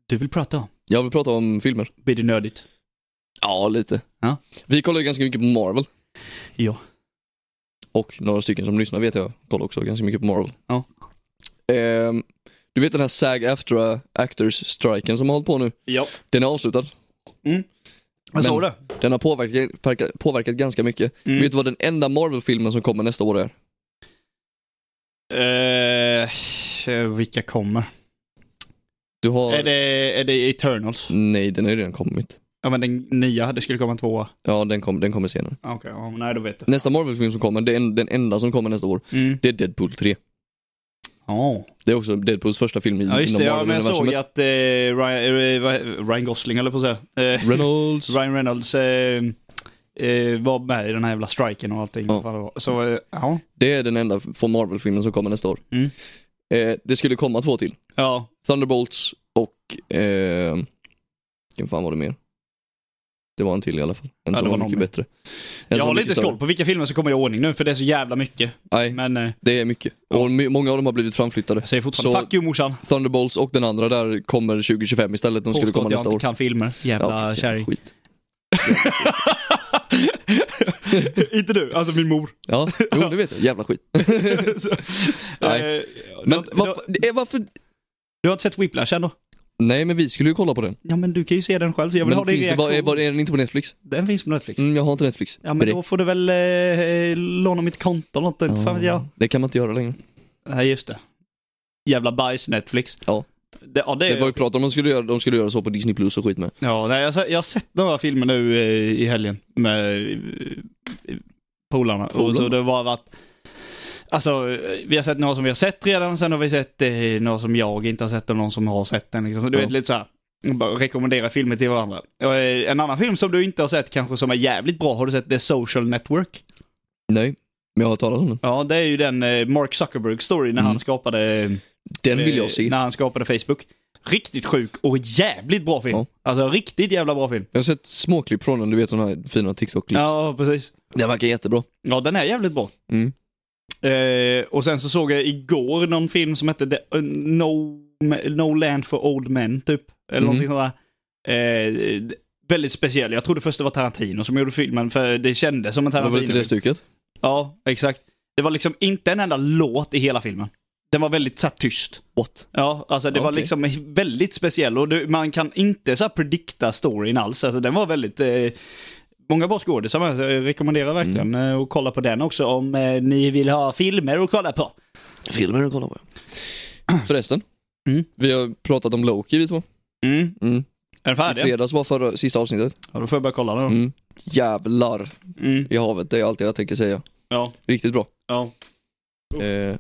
S2: Du vill prata om?
S1: Jag vill prata om filmer.
S2: Blir det nördigt?
S1: Ja, lite.
S2: Ja.
S1: Vi kollar ju ganska mycket på Marvel.
S2: Ja.
S1: Och några stycken som lyssnar vet jag kollar också ganska mycket på Marvel.
S2: Ja.
S1: Ehm, du vet den här SAG aftra Actors-striken som har hållit på nu?
S2: Ja.
S1: Den är avslutad.
S2: Vad sa
S1: Men-
S2: du?
S1: Den har påverkat, påverkat, påverkat ganska mycket.
S2: Mm.
S1: Vet du vad den enda Marvel-filmen som kommer nästa år är?
S2: Eh, vilka kommer?
S1: Du har...
S2: Är, det, är det Eternals?
S1: Nej, den har ju redan kommit.
S2: Ja men den nya, det skulle komma en tvåa.
S1: Ja, den, kom, den kommer senare.
S2: Ah, Okej, ja, men nej då vet jag.
S1: Nästa Marvel-film som kommer, det är en, den enda som kommer nästa år,
S2: Mm.
S1: det är Deadpool 3.
S2: Ja.
S1: Det är också Deadpools första film i,
S2: Ja just
S1: inom
S2: det, ja, men jag såg
S1: Marvel-universumet.
S2: att eh, Ryan, eh, vad- Ryan Gosling eller på att säga. Eh,
S1: Reynolds.
S2: Ryan Reynolds eh, eh, var med i den här jävla striken och allting.
S1: Ja.
S2: Vad fan det var. Så eh, ja.
S1: Det är den enda från Marvel-filmen som kommer nästa år.
S2: Mm.
S1: Eh, det skulle komma två till.
S2: Ja.
S1: Thunderbolts och... Eh, vilken fan var det mer? Det var en till i alla fall. En
S2: Ja,
S1: som
S2: det
S1: var,
S2: var någon
S1: mycket
S2: mer.
S1: bättre. En
S2: Jag
S1: som var
S2: har lite
S1: mycket större.
S2: koll på vilka filmer som kommer i ordning nu för det är så jävla mycket.
S1: Nej,
S2: Men eh,
S1: det är mycket. Och my- många av dem har blivit framflyttade.
S2: jag säger fortfarande
S1: Så-
S2: fuck you morsan.
S1: Thunderbolts och den andra där kommer 2025 istället. De skulle
S2: Påstå
S1: komma
S2: att jag
S1: nästa
S2: inte
S1: år.
S2: kan filmer. Jävla
S1: vilken
S2: kärring. [LAUGHS]
S1: skit.
S2: inte du, alltså
S1: [LAUGHS]
S2: min mor.
S1: Ja, jo det vet jag. Jävla
S2: [LAUGHS]
S1: skit. Nej.
S2: Eh,
S1: Men
S2: du, har-
S1: varför, det är varför...
S2: du har inte sett Whiplash än då?
S1: Nej men vi skulle ju kolla på den.
S2: Ja men du kan ju se den själv så jag vill
S1: men
S2: ha din
S1: finns det,
S2: reaktion.
S1: var, är, var, är den inte på Netflix?
S2: Den finns på Netflix.
S1: Mm, jag har inte Netflix.
S2: Ja
S1: Bre-
S2: men då får du väl eh, låna mitt konto eller något. Fan, ja.
S1: Det kan man inte göra längre.
S2: Nej just det. Jävla bajs Netflix.
S1: Ja.
S2: Det, ja, det,
S1: Det var ju prat om de skulle göra, de skulle göra så på Disney Plus och skit med.
S2: ja nej, jag, har se- jag har sett några filmer nu eh, i helgen med eh, polarna. Och så
S1: Polarna?
S2: det var varit... Alltså eh, vi har sett några som vi har sett redan, sen har vi sett eh, några som jag inte har sett och någon som har sett den. Liksom. Du
S1: Ja.
S2: vet lite såhär. Bara rekommendera filmer till varandra. Och, eh, en annan film som du inte har sett kanske som är jävligt bra, har du sett The Social Network?
S1: Nej, men jag har hört talas om den.
S2: Ja, det är ju den eh, Mark Zuckerberg story när han
S1: Mm.
S2: skapade... eh,
S1: Den vill jag se.
S2: När han skapade Facebook. Riktigt sjuk och jävligt bra film.
S1: Ja.
S2: Alltså riktigt jävla bra film.
S1: Jag har sett småklipp från den, du vet sådana här fina TikTok-klipp.
S2: Ja, precis.
S1: Den verkar jättebra.
S2: Ja, den är jävligt bra.
S1: Mm.
S2: Eh, och sen så såg jag igår någon film som hette The, eh, no, no Land for Old Men, typ. Eller
S1: Mm.
S2: någonting sånt där. Eh, väldigt speciell. Jag trodde först det var Tarantino som gjorde filmen, för det kändes som en
S1: Det var lite
S2: Tarantino.
S1: det stycket.
S2: Ja, exakt. Det var liksom inte en enda låt i hela filmen. Den var väldigt så här, tyst.
S1: What?
S2: Ja, alltså det var
S1: Okej.
S2: liksom väldigt speciell och du, man kan inte så här predikta storyn alls. Alltså den var väldigt... Eh, många bra skådisar med, så jag rekommenderar
S1: Mm.
S2: verkligen eh, att kolla på den också om eh, ni vill ha filmer att kolla på.
S1: Filmer att kolla på. Förresten,
S2: Mm.
S1: vi har pratat om Loki vi två.
S2: Mm.
S1: Mm.
S2: Är den
S1: I
S2: färdig?
S1: fredags var förra, sista avsnittet.
S2: Ja, då får jag börja kolla då.
S1: Mm. Jävlar
S2: Mm.
S1: i havet, det är allt jag tänker säga.
S2: Ja,
S1: Riktigt bra.
S2: ja.
S1: Eh,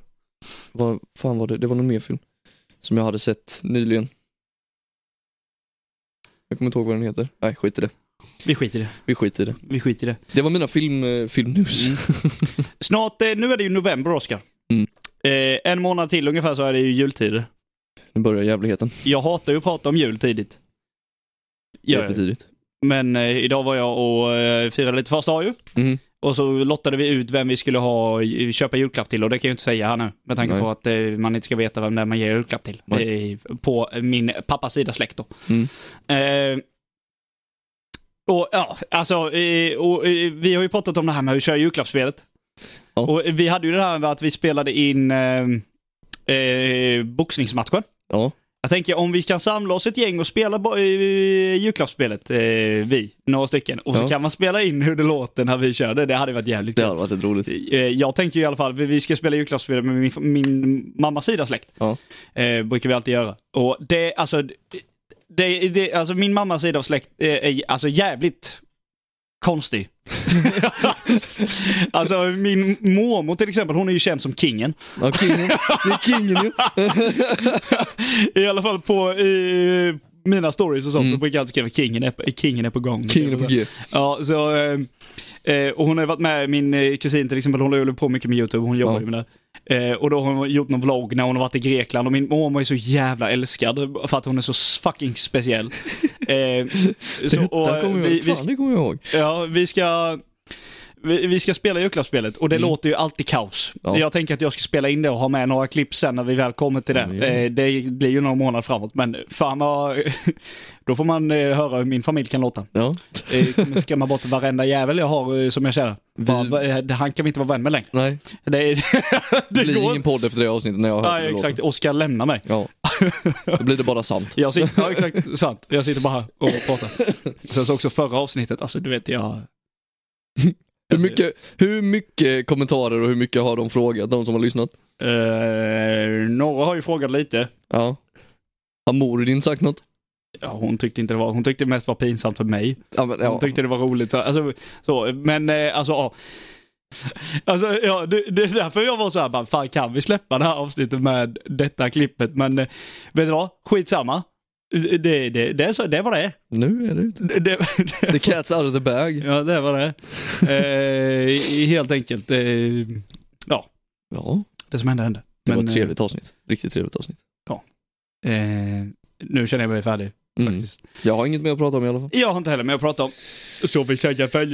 S1: vad fan var det? Det var någon mer film som jag hade sett nyligen. Jag kommer inte ihåg vad den heter. Nej, skit i det.
S2: Vi skiter i det.
S1: Vi skiter i det.
S2: Vi skiter i det.
S1: Det var mina film, eh, filmnews. [LAUGHS]
S2: Mm. Snart, eh, nu är det ju november, Oskar.
S1: Mm.
S2: Eh, en månad till ungefär så är det ju jultider.
S1: Nu börjar jävligheten.
S2: Jag hatar ju att prata om jul tidigt.
S1: Det
S2: Gör
S1: är
S2: jag
S1: för
S2: ju.
S1: tidigt.
S2: Men eh, idag var jag och eh, firade lite första dag ju.
S1: Mhm.
S2: Och så lottade vi ut vem vi skulle ha, köpa julklapp till och det kan jag ju inte säga här nu. Med tanke
S1: Nej.
S2: på att eh, man inte ska veta vem det är man ger julklapp till. Eh, på min pappas sida släkt då.
S1: Mm.
S2: Eh, och ja, alltså, eh, och, eh, vi har ju pratat om det här med att köra julklappsspelet.
S1: Ja.
S2: Och vi hade ju det här med att vi spelade in eh, eh, boxningsmatchen.
S1: Ja.
S2: Jag tänker om vi kan samla oss ett gäng och spela bo- eh, julklappsspelet, eh, vi, några stycken. Och så
S1: Ja.
S2: kan man spela in hur det låter när vi kör det. Det hade varit jävligt
S1: Det
S2: kul.
S1: hade varit ett roligt.
S2: Eh, Jag tänker i alla fall, vi- vi ska spela julklappsspelet med min, min mammas sida släkt.
S1: Ja.
S2: Eh, brukar vi alltid göra. Och det, alltså, det, det, alltså min mammas sida av släkt eh, är alltså jävligt
S1: [LAUGHS]
S2: konstig. [LAUGHS] alltså min mormor till exempel, hon är ju känd som kingen.
S1: Ja, kingen. Det är
S2: [LAUGHS]
S1: kingen ju.
S2: I alla fall på eh, mina stories och sånt så brukar jag alltid skriva kingen är, på- kingen är på gång.
S1: Mm. Kingen är på G.
S2: Ja, så, eh, eh, och hon har ju varit med, min eh, kusin till exempel, hon håller på mycket med YouTube, hon jobbar
S1: Ja.
S2: ju med det. Eh, och då har hon gjort någon vlogg när hon har varit i Grekland och min mormor är så jävla älskad för att hon är så
S1: [LAUGHS]
S2: fucking speciell. Eh, så, och,
S1: Detta kommer jag
S2: vi,
S1: ihåg.
S2: vi,
S1: Fan, det kommer jag ihåg.
S2: Ja, vi ska... Vi, vi ska spela julklappsspelet och det låter ju alltid kaos.
S1: Mm. Ja.
S2: Jag tänker att jag ska spela in det och ha med några klipp sen när vi väl kommer till det.
S1: Mm, ja.
S2: Eh, Det blir ju några månader framåt men fan vad... [LAUGHS] Då får man eh, höra hur min familj kan låta.
S1: Ja.
S2: Eh, Kommer skrämma bort varenda jävel jag har eh, som jag känner. Bara, eh, Han kan vi inte vara vän med längre.
S1: Nej,
S2: Det, är- [LAUGHS]
S1: det
S2: det
S1: blir
S2: går
S1: ingen podd efter det avsnittet när jag har hört hur
S2: Nej,
S1: det
S2: exakt. Oskar lämnar mig.
S1: låter. Ja. Då blir det bara
S2: [LAUGHS]
S1: sant.
S2: Jag sitter,
S1: [LAUGHS]
S2: ja, exakt. Sant. Jag sitter bara här och pratar. Sen så också förra avsnittet, alltså du vet jag...
S1: Hur mycket, hur mycket kommentarer och hur mycket har de frågat, de som har lyssnat?
S2: Eh, några har ju frågat lite.
S1: Ja. Har Moridin sagt något?
S2: Ja, hon tyckte inte det var, hon tyckte mest var pinsamt för mig.
S1: Ja, men,
S2: Hon
S1: ja.
S2: tyckte det var roligt. Så, alltså, så, men eh, alltså, ja. [LAUGHS] Alltså, ja, det, det är därför jag var så här, bara, fan kan vi släppa det här avsnittet med detta klippet? Men eh, vet du vad? Skitsamma. Det, det, det, är så, det var det.
S1: Nu är det ute.
S2: det, [LAUGHS] det,
S1: The cat's out of the bag.
S2: ja, det var det. Eh, helt enkelt. Eh, ja,
S1: Ja.
S2: det som hände hände.
S1: Det var
S2: Men,
S1: ett trevligt avsnitt. Riktigt trevligt avsnitt.
S2: Eh, nu känner jag mig färdig
S1: Mm.
S2: faktiskt.
S1: Jag har inget mer att prata om i alla fall.
S2: Jag har inte heller mer att prata om. Så vi säger väl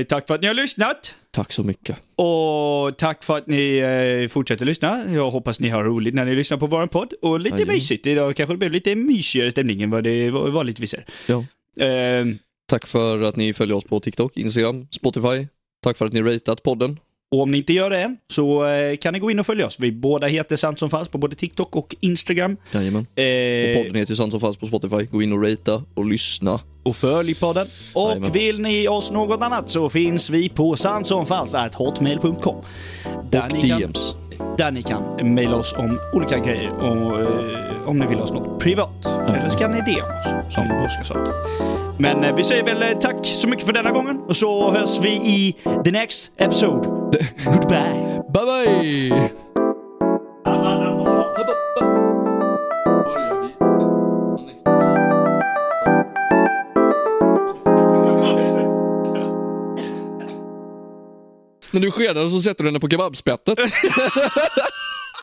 S2: eh, tack för att ni har lyssnat.
S1: Tack så mycket.
S2: Och tack för att ni eh, fortsätter lyssna. Jag hoppas ni har roligt när ni lyssnar på vår podd. Och lite
S1: Jajamän.
S2: mysigt. Idag kanske det blev lite mysigare stämning än vad det va- vanligtvis är.
S1: Ja.
S2: Eh,
S1: Tack för att ni följer oss på TikTok, Instagram, Spotify. Tack för att ni ratat podden.
S2: och om ni inte gör det än så eh, kan ni gå in och följa oss. Vi båda heter Sant som Falskt på både TikTok och Instagram.
S1: Jajamän. Och
S2: Eh,
S1: podden heter ju Sant som falskt på Spotify. Gå in och rata och lyssna.
S2: och följ podden.
S1: Jajamän.
S2: Och vill ni oss något annat så finns vi på sannsomfalskt.hotmail.com. Där ni kan-
S1: DMs.
S2: där ni kan mejla oss om olika grejer och eh, om ni vill ha oss något privat. Eller så kan ni DM oss, som Oskar sa. Men eh, vi säger väl eh, tack så mycket för denna gången och så hörs vi i the next episode. Goodbye!
S1: Bye bye! När du skedar så sätter du henne på kebabspettet.